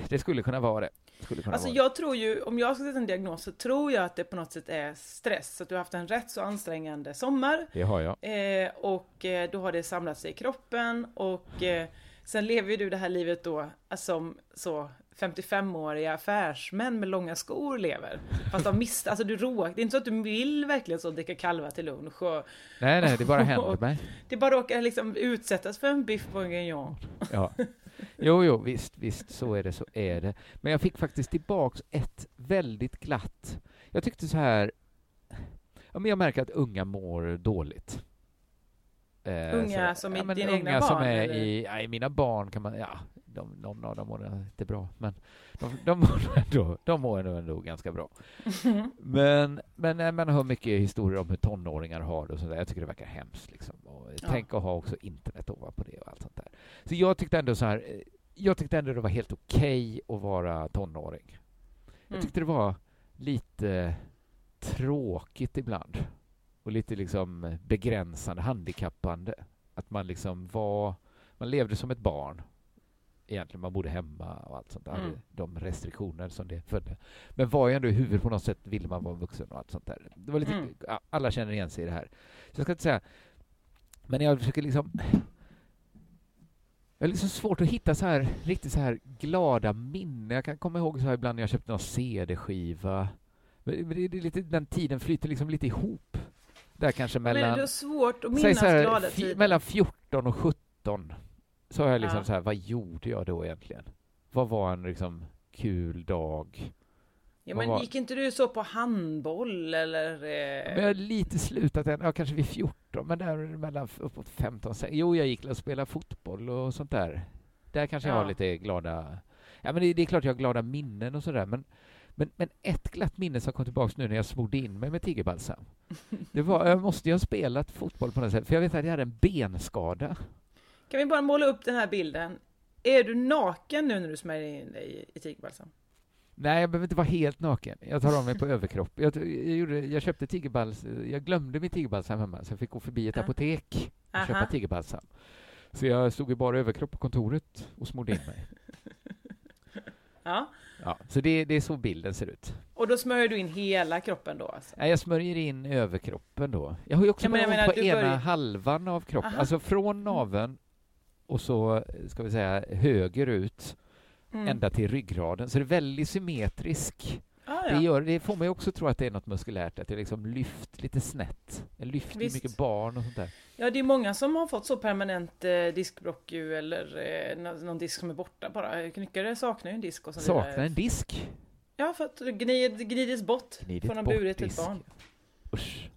Speaker 3: Det skulle kunna vara det. Skulle kunna
Speaker 2: Alltså
Speaker 3: vara
Speaker 2: jag tror ju, om jag ska sätta en diagnos så tror jag att det på något sätt är stress. Så att du har haft en rätt så ansträngande sommar.
Speaker 3: det. det har jag.
Speaker 2: Eh, och eh, då har det samlat sig i kroppen och eh, sen lever ju du det här livet då alltså, som så 55-åriga affärsmän med långa skor lever. Fast de missar, alltså du råkar, det är inte så att du vill verkligen så dricka kalva till lunch och
Speaker 3: Nej, nej, det bara händer mig.
Speaker 2: det bara råkar liksom utsättas för en biff bourguignon.
Speaker 3: Ja. Jo, jo, visst, visst, så är det, så är det. Men jag fick faktiskt tillbaks ett väldigt glatt... Jag tyckte så här... Ja, men jag märker att unga mår dåligt. Eh,
Speaker 2: Unga
Speaker 3: så-
Speaker 2: som i
Speaker 3: ja, men
Speaker 2: dina
Speaker 3: unga
Speaker 2: egna
Speaker 3: som
Speaker 2: barn,
Speaker 3: Är
Speaker 2: eller?
Speaker 3: i, ja, i mina barn kan man... Ja, de, någon av dem mår inte bra, men de, de, mår, ändå, de mår ändå, ändå ganska bra. Men, men eh, man hör mycket historier om hur tonåringar har det och sånt där. Jag tycker det verkar hemskt. Liksom. Och
Speaker 2: Ja.
Speaker 3: Tänk att ha också internet ovanpå det och allt sånt där. Så jag tyckte ändå så här, eh, jag tyckte ändå det var helt okej att vara tonåring. Jag
Speaker 2: Mm.
Speaker 3: tyckte det var lite tråkigt ibland och lite liksom begränsande, handikappande. Att man liksom var, man levde som ett barn. Egentligen, man bodde hemma och allt sånt där.
Speaker 2: Mm.
Speaker 3: De restriktioner som det födde. Men var ju ändå i huvudet på något sätt ville man vara vuxen och allt sånt där. Det var lite,
Speaker 2: Mm.
Speaker 3: ja, alla känner igen sig i det här. Så jag ska inte säga, men jag försöker liksom jag har liksom svårt att hitta så här, riktigt så här glada minnen. Jag kan komma ihåg så här ibland när jag köpte någon CD-skiva. Men men det, det, är lite, den tiden flyter liksom lite ihop. Där kanske
Speaker 2: Men är
Speaker 3: mellan,
Speaker 2: det då svårt att
Speaker 3: säg
Speaker 2: minnas
Speaker 3: så här,
Speaker 2: glada
Speaker 3: fi,
Speaker 2: tider?
Speaker 3: mellan 14 och 17. Så har jag liksom
Speaker 2: Ja.
Speaker 3: så här, vad gjorde jag då egentligen? Vad var en liksom kul dag?
Speaker 2: Ja,
Speaker 3: vad
Speaker 2: men
Speaker 3: var-
Speaker 2: gick inte du så på handboll eller? eh,
Speaker 3: Men jag har lite slutat än, ja kanske vid 14, men där mellan f- uppåt 15, se- jo jag gick och spelade fotboll och sånt där. Där kanske jag har
Speaker 2: Ja.
Speaker 3: lite glada, ja men det, det är klart jag har glada minnen och sådär, men, men, men ett glatt minne som kom tillbaks nu när jag smorde in mig med tigerbalsam, det var, jag måste ju ha spelat fotboll på något sätt, för jag vet att jag hade en benskada.
Speaker 2: Kan vi bara måla upp den här bilden? Är du naken nu när du smörjer in dig i- i tigerbalsam?
Speaker 3: Nej, jag behöver inte vara helt naken. Jag tar av mig på överkropp. Jag, jag, gjorde, jag köpte tigerbals, jag glömde min tigerbalsam hemma, så jag fick gå förbi ett
Speaker 2: Ah.
Speaker 3: apotek och
Speaker 2: Aha.
Speaker 3: köpa tigerbalsam. Så jag stod i bara överkropp på kontoret och smorde in mig.
Speaker 2: Ja.
Speaker 3: Ja, så det, det är så bilden ser ut.
Speaker 2: Och då smörjer du in hela kroppen då alltså?
Speaker 3: Nej, Jag smörjer in överkroppen då. Jag har ju också
Speaker 2: Ja, men jag
Speaker 3: bara
Speaker 2: menar,
Speaker 3: ont på
Speaker 2: du
Speaker 3: ena
Speaker 2: börjar-
Speaker 3: halvan av kroppen,
Speaker 2: Aha. Mm.
Speaker 3: alltså från naveln och så, ska vi säga, höger ut
Speaker 2: Mm.
Speaker 3: ända till ryggraden. Så det är väldigt symmetrisk
Speaker 2: ah,
Speaker 3: Det,
Speaker 2: ja.
Speaker 3: gör, det får mig också tro att det är något muskulärt, att jag liksom lyft lite snett. Jag lyfter ju
Speaker 2: Visst.
Speaker 3: mycket barn och sånt där.
Speaker 2: ja, det är många som har fått så permanent eh, diskbråck ju eller eh, nå- någon disk som är borta bara. Knyckare saknar ju en disk och så vidare.
Speaker 3: Saknar en disk.
Speaker 2: Ja, för att det gnid, gnides bort
Speaker 3: Gnidit
Speaker 2: från en
Speaker 3: bort
Speaker 2: burit till ett
Speaker 3: disk.
Speaker 2: barn.
Speaker 3: Usch.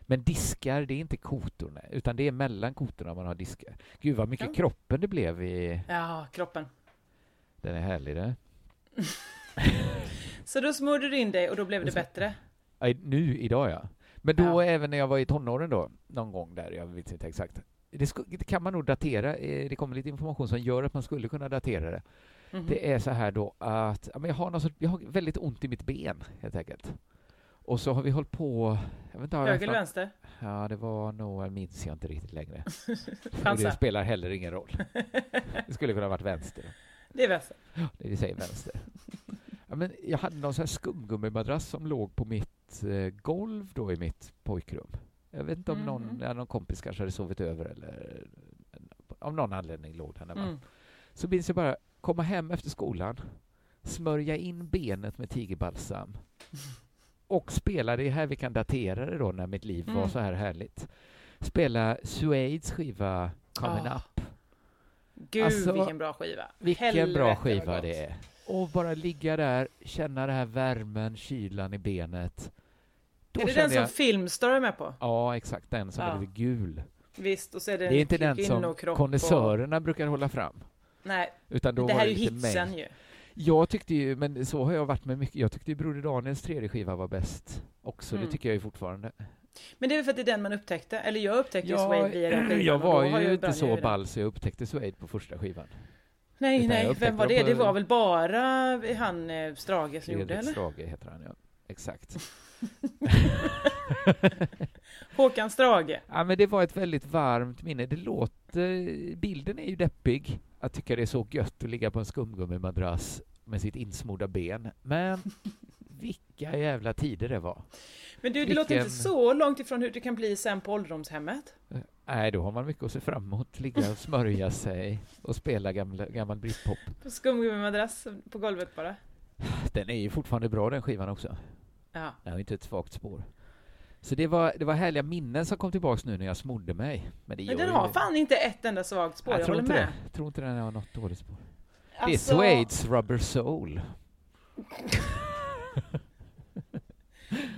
Speaker 3: Men diskar, det är inte kotorna, utan det är mellan kotorna man har diskar. Gud vad mycket
Speaker 2: Ja.
Speaker 3: kroppen det blev i...
Speaker 2: Ja, kroppen.
Speaker 3: Den eh. är härlig den.
Speaker 2: Så då smörjde du in dig och då blev det
Speaker 3: Och så-
Speaker 2: bättre?
Speaker 3: Aj, Nu, idag ja. Men då
Speaker 2: Ja.
Speaker 3: även när jag var i tonåren då, någon gång där, jag vet inte exakt. Det, sku, det kan man nog datera, eh, det kommer lite information som gör att man skulle kunna datera det.
Speaker 2: Mhm.
Speaker 3: Det är så här då att ja, men jag, har någon sorts, jag har väldigt ont i mitt ben helt enkelt. Och så har vi hållit på... Jag vet inte, har jag
Speaker 2: Höger eller
Speaker 3: haft
Speaker 2: vänster?
Speaker 3: något- Ja, det var nog, jag minns jag inte riktigt längre. Och det
Speaker 2: Chansa.
Speaker 3: spelar heller ingen roll. Det skulle kunna ha varit vänster.
Speaker 2: Det är vänster.
Speaker 3: Det vi säger vänster. Ja, men jag hade någon sån här skumgummimadrass som låg på mitt ett eh, golv då i mitt pojkrum. Jag vet inte om någon,
Speaker 2: Mhm.
Speaker 3: ja, någon kompis kanske hade sovit över eller eh, av någon anledning låg den där. va?
Speaker 2: Mm.
Speaker 3: Så minns jag bara komma hem efter skolan, smörja in benet med tigerbalsam och spela, det är här vi kan datera det då när mitt liv var
Speaker 2: Mm.
Speaker 3: så här härligt, spela Suades skiva Coming
Speaker 2: Ah.
Speaker 3: Up.
Speaker 2: Gud
Speaker 3: Alltså,
Speaker 2: vilken bra skiva.
Speaker 3: Vilken
Speaker 2: Helvete,
Speaker 3: bra
Speaker 2: vad
Speaker 3: skiva
Speaker 2: gott.
Speaker 3: det är. Och bara ligga där, känna den här värmen, kylan i benet. Då
Speaker 2: Är det den
Speaker 3: kände
Speaker 2: som
Speaker 3: jag...
Speaker 2: Filmstar är med på?
Speaker 3: Ja, exakt. Den som
Speaker 2: Ja.
Speaker 3: är lite gul.
Speaker 2: Visst, och så är det,
Speaker 3: Det är inte den som
Speaker 2: kvinnokropp
Speaker 3: konnässörerna brukar hålla fram.
Speaker 2: Och... Nej,
Speaker 3: Utan då
Speaker 2: det
Speaker 3: var
Speaker 2: här är ju
Speaker 3: lite
Speaker 2: hitsen
Speaker 3: mig.
Speaker 2: ju.
Speaker 3: Jag tyckte ju, men så har jag varit med mycket, jag tyckte ju Broder Daniels tredje skiva var bäst också,
Speaker 2: Mm.
Speaker 3: det tycker jag ju fortfarande.
Speaker 2: Men det är väl för att det är den man upptäckte, eller jag upptäckte ju Suede via den skivan.
Speaker 3: jag
Speaker 2: och då
Speaker 3: var
Speaker 2: har
Speaker 3: ju inte
Speaker 2: brann
Speaker 3: så
Speaker 2: jag den.
Speaker 3: ball så jag upptäckte Suede på första skivan.
Speaker 2: Nej,
Speaker 3: utan jag
Speaker 2: nej,
Speaker 3: upptäckte
Speaker 2: vem var
Speaker 3: dem
Speaker 2: det?
Speaker 3: på-
Speaker 2: Det var väl bara han eh, Strage som gjorde,
Speaker 3: Fredrik
Speaker 2: eller? Mm.
Speaker 3: Strage heter han, ja. Exakt.
Speaker 2: Håkan Strage.
Speaker 3: Ja, men det var ett väldigt varmt minne. Det låter, bilden är ju deppig, att tycka det är så gött att ligga på en skumgummimadrass med sitt insmorda ben. Men vilka jävla tider det var.
Speaker 2: Men du, det låter inte
Speaker 3: Vilken-
Speaker 2: så långt ifrån hur det kan bli sen på ålderdomshemmet.
Speaker 3: Nej, då har man mycket att se fram emot. Ligga och smörja sig och spela gamla, gammal britpop.
Speaker 2: På skumgummimadrass på golvet bara.
Speaker 3: Den är ju fortfarande bra den skivan också.
Speaker 2: Ja.
Speaker 3: Den har ju inte ett svagt spår. Så det var, det var härliga minnen som kom tillbaks nu när jag smorde mig. Men det
Speaker 2: Men
Speaker 3: gör
Speaker 2: den
Speaker 3: ju-
Speaker 2: har fan inte ett enda svagt spår, jag,
Speaker 3: jag tror
Speaker 2: håller
Speaker 3: inte
Speaker 2: med.
Speaker 3: det. Jag tror inte den har något dåligt spår. Det är
Speaker 2: Alltså,
Speaker 3: Suades Rubber Soul.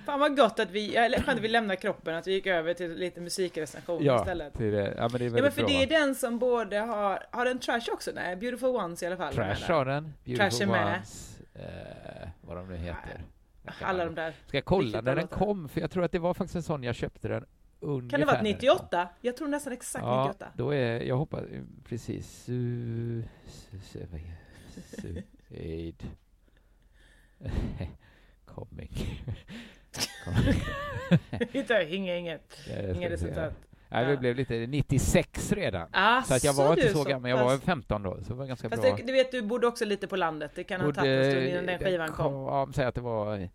Speaker 2: Fan vad gott att vi, eller skönt att vi lämnar kroppen, att vi gick över till lite musikrecension istället.
Speaker 3: det är det. Ja, men det är
Speaker 2: Ja men
Speaker 3: väldigt
Speaker 2: för
Speaker 3: bra.
Speaker 2: det är
Speaker 3: va?
Speaker 2: den som både har, har den trash också? Nej, Beautiful Ones i alla fall.
Speaker 3: Trash har den, Beautiful
Speaker 2: Trash är med.
Speaker 3: Ones, eh, vad de nu heter. Jag kan
Speaker 2: Alla
Speaker 3: aldrig-
Speaker 2: de där.
Speaker 3: Ska jag kolla
Speaker 2: Vilket
Speaker 3: när
Speaker 2: av
Speaker 3: den
Speaker 2: låtarna?
Speaker 3: kom? För jag tror att det var faktiskt en sån jag köpte den ungefär.
Speaker 2: Kan det vara ett
Speaker 3: när den
Speaker 2: 98? Jag tror nästan exakt
Speaker 3: kom. Ja,
Speaker 2: 98.
Speaker 3: då är, jag hoppas, precis, su, su, su, vad är- Suicide Coming. Coming.
Speaker 2: Inte, inget, inget.
Speaker 3: Ja,
Speaker 2: Inget
Speaker 3: jag ska se här.
Speaker 2: resultat.
Speaker 3: Nej, vi
Speaker 2: Ja.
Speaker 3: blev lite 96 redan.
Speaker 2: Ah,
Speaker 3: Så att jag var inte så gammal, jag var
Speaker 2: pass.
Speaker 3: 15 då, så det var ganska
Speaker 2: Fast
Speaker 3: bra.
Speaker 2: det, du vet, du bodde också lite på landet. Det kan ha
Speaker 3: Och
Speaker 2: tagit en stund
Speaker 3: det-
Speaker 2: innan den
Speaker 3: det
Speaker 2: skivan kom.
Speaker 3: Ja, men säg att det var... Ja,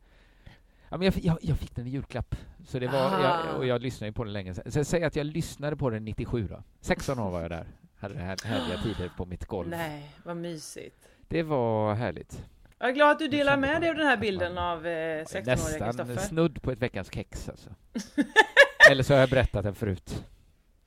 Speaker 3: men jag, fi- jag, jag fick den i julklapp, så det var,
Speaker 2: Ah.
Speaker 3: jag, och jag lyssnade ju på den länge sen. Sen säg att jag lyssnade på den 97 då. 16 år var jag där. Hade det här härliga tider på mitt golv.
Speaker 2: Nej, vad mysigt.
Speaker 3: Det var härligt.
Speaker 2: Jag är glad att du
Speaker 3: Nu
Speaker 2: delar
Speaker 3: kände
Speaker 2: med
Speaker 3: man
Speaker 2: dig av den här
Speaker 3: att
Speaker 2: bilden
Speaker 3: man-
Speaker 2: av eh, 16-åriga
Speaker 3: Nästan
Speaker 2: Kristoffer.
Speaker 3: snudd på ett veckans kex alltså. Eller så har jag berättat den förut.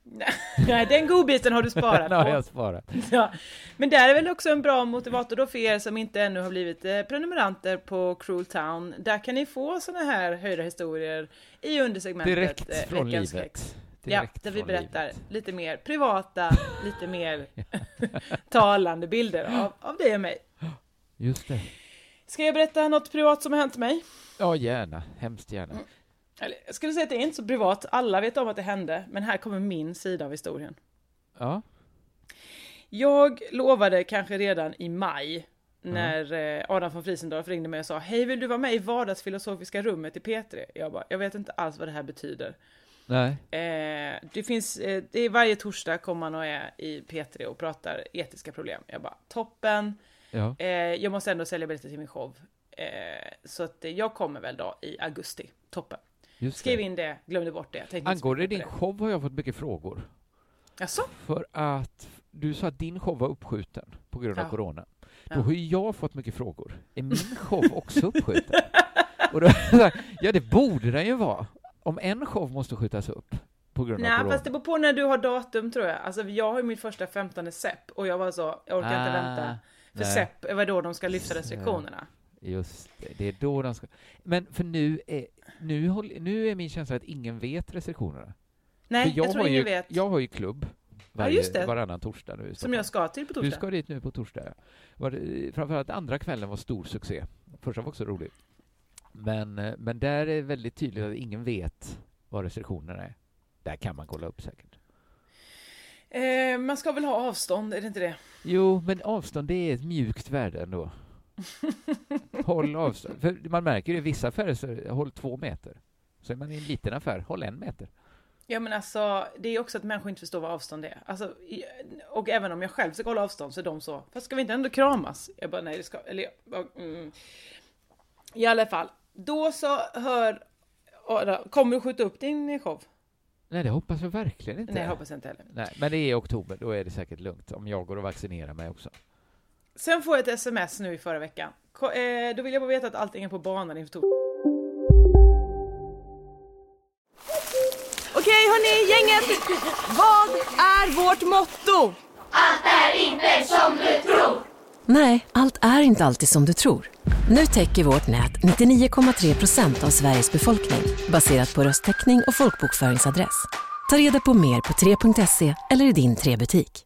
Speaker 2: Nej, den godbiten har du sparat
Speaker 3: Den har
Speaker 2: på.
Speaker 3: jag sparat.
Speaker 2: Ja. Men där är väl också en bra motivator då för er som inte ännu har blivit eh, prenumeranter på Cruel Town. Där kan ni få såna här höjda historier i undersegmentet eh,
Speaker 3: Direkt från
Speaker 2: Veckans Flex.
Speaker 3: livet.
Speaker 2: Ja,
Speaker 3: Direkt
Speaker 2: där vi
Speaker 3: från
Speaker 2: berättar
Speaker 3: livet.
Speaker 2: lite mer privata, lite mer talande bilder av, av dig och mig.
Speaker 3: Just det.
Speaker 2: Ska jag berätta något privat som har hänt mig?
Speaker 3: Ja, gärna. Hemskt gärna.
Speaker 2: Mm. Eller, jag skulle säga att det är inte så privat, alla vet om att det hände, men här kommer min sida av historien.
Speaker 3: Ja.
Speaker 2: Jag lovade kanske redan i maj
Speaker 3: Mm.
Speaker 2: när eh, Adam von Friesendorf ringde mig och sa Hej vill du vara med i vardagsfilosofiska rummet i P3? Jag bara, jag vet inte alls vad det här betyder.
Speaker 3: Nej.
Speaker 2: Eh, det finns, eh, det är varje torsdag kommer man och är i P3 och pratar etiska problem. Jag bara, toppen.
Speaker 3: Ja.
Speaker 2: Eh, jag måste ändå sälja biljetter till min show. Eh, så att eh, jag kommer väl då i augusti. Toppen.
Speaker 3: Just
Speaker 2: Skriv
Speaker 3: det.
Speaker 2: in det, glömde bort det. Jag tänkte inte så
Speaker 3: Angående
Speaker 2: mycket
Speaker 3: din
Speaker 2: på
Speaker 3: show har jag fått mycket frågor.
Speaker 2: det. Jaså?
Speaker 3: För att du sa att din show var uppskjuten på grund av
Speaker 2: Ja.
Speaker 3: corona. Då
Speaker 2: Ja.
Speaker 3: har ju jag fått mycket frågor. Är min show också uppskjuten? Och då, ja, det borde den ju vara. Om en show måste skjutas upp på grund av
Speaker 2: Nej,
Speaker 3: corona.
Speaker 2: fast det beror på när du har datum tror jag. Alltså jag har ju mitt första 15 SEP och jag var så, jag orkar inte
Speaker 3: Ah,
Speaker 2: vänta. För
Speaker 3: nej.
Speaker 2: SEP var då de ska lyfta restriktionerna.
Speaker 3: Just det, det är då den ska... Men för nu är, nu, håll, nu är min känsla att ingen vet restriktionerna.
Speaker 2: Nej,
Speaker 3: för
Speaker 2: jag,
Speaker 3: har
Speaker 2: tror
Speaker 3: ju,
Speaker 2: ingen vet.
Speaker 3: Jag har ju klubb varje,
Speaker 2: just det.
Speaker 3: varannan torsdag nu. i
Speaker 2: som
Speaker 3: Stockholm.
Speaker 2: jag ska till på torsdag.
Speaker 3: Du ska dit nu på torsdag. ja. Var det, framförallt andra kvällen var stor succé. Första var också rolig. Men, eh, men där är det väldigt tydligt att ingen vet vad restriktionerna är. Där kan man kolla upp säkert.
Speaker 2: Eh, man ska väl ha avstånd, är det inte det?
Speaker 3: Jo, men avstånd det är ett mjukt värde ändå. Håll avstånd. För man märker ju i vissa affärer så är det, håll två meter. Så är man i en liten affär, håll en meter.
Speaker 2: Ja men alltså, det är också att människor inte förstår vad avstånd är. Alltså, i- och även om jag själv ska hålla avstånd så är de så, fast ska vi inte ändå kramas? Jag bara, nej det ska, eller jag, bara, mm. I alla fall, då så hör Adam, Kommer du skjuta upp din show?
Speaker 3: Nej, det hoppas jag verkligen inte.
Speaker 2: Nej, jag hoppas inte heller.
Speaker 3: Nej, men det är i oktober, då är det säkert lugnt om jag går och vaccinerar mig också.
Speaker 2: Sen får jag ett sms nu i förra veckan. Ko- eh, Då vill jag bara veta att allting är på banan inför torsdag.
Speaker 4: Okej hörni, gänget! Vad är vårt motto?
Speaker 5: Nej, allt är inte alltid som du tror. Nu täcker vårt nät 99,3 procent av Sveriges befolkning baserat på röstteckning och folkbokföringsadress. Ta reda på mer på 3.se eller i din 3-butik.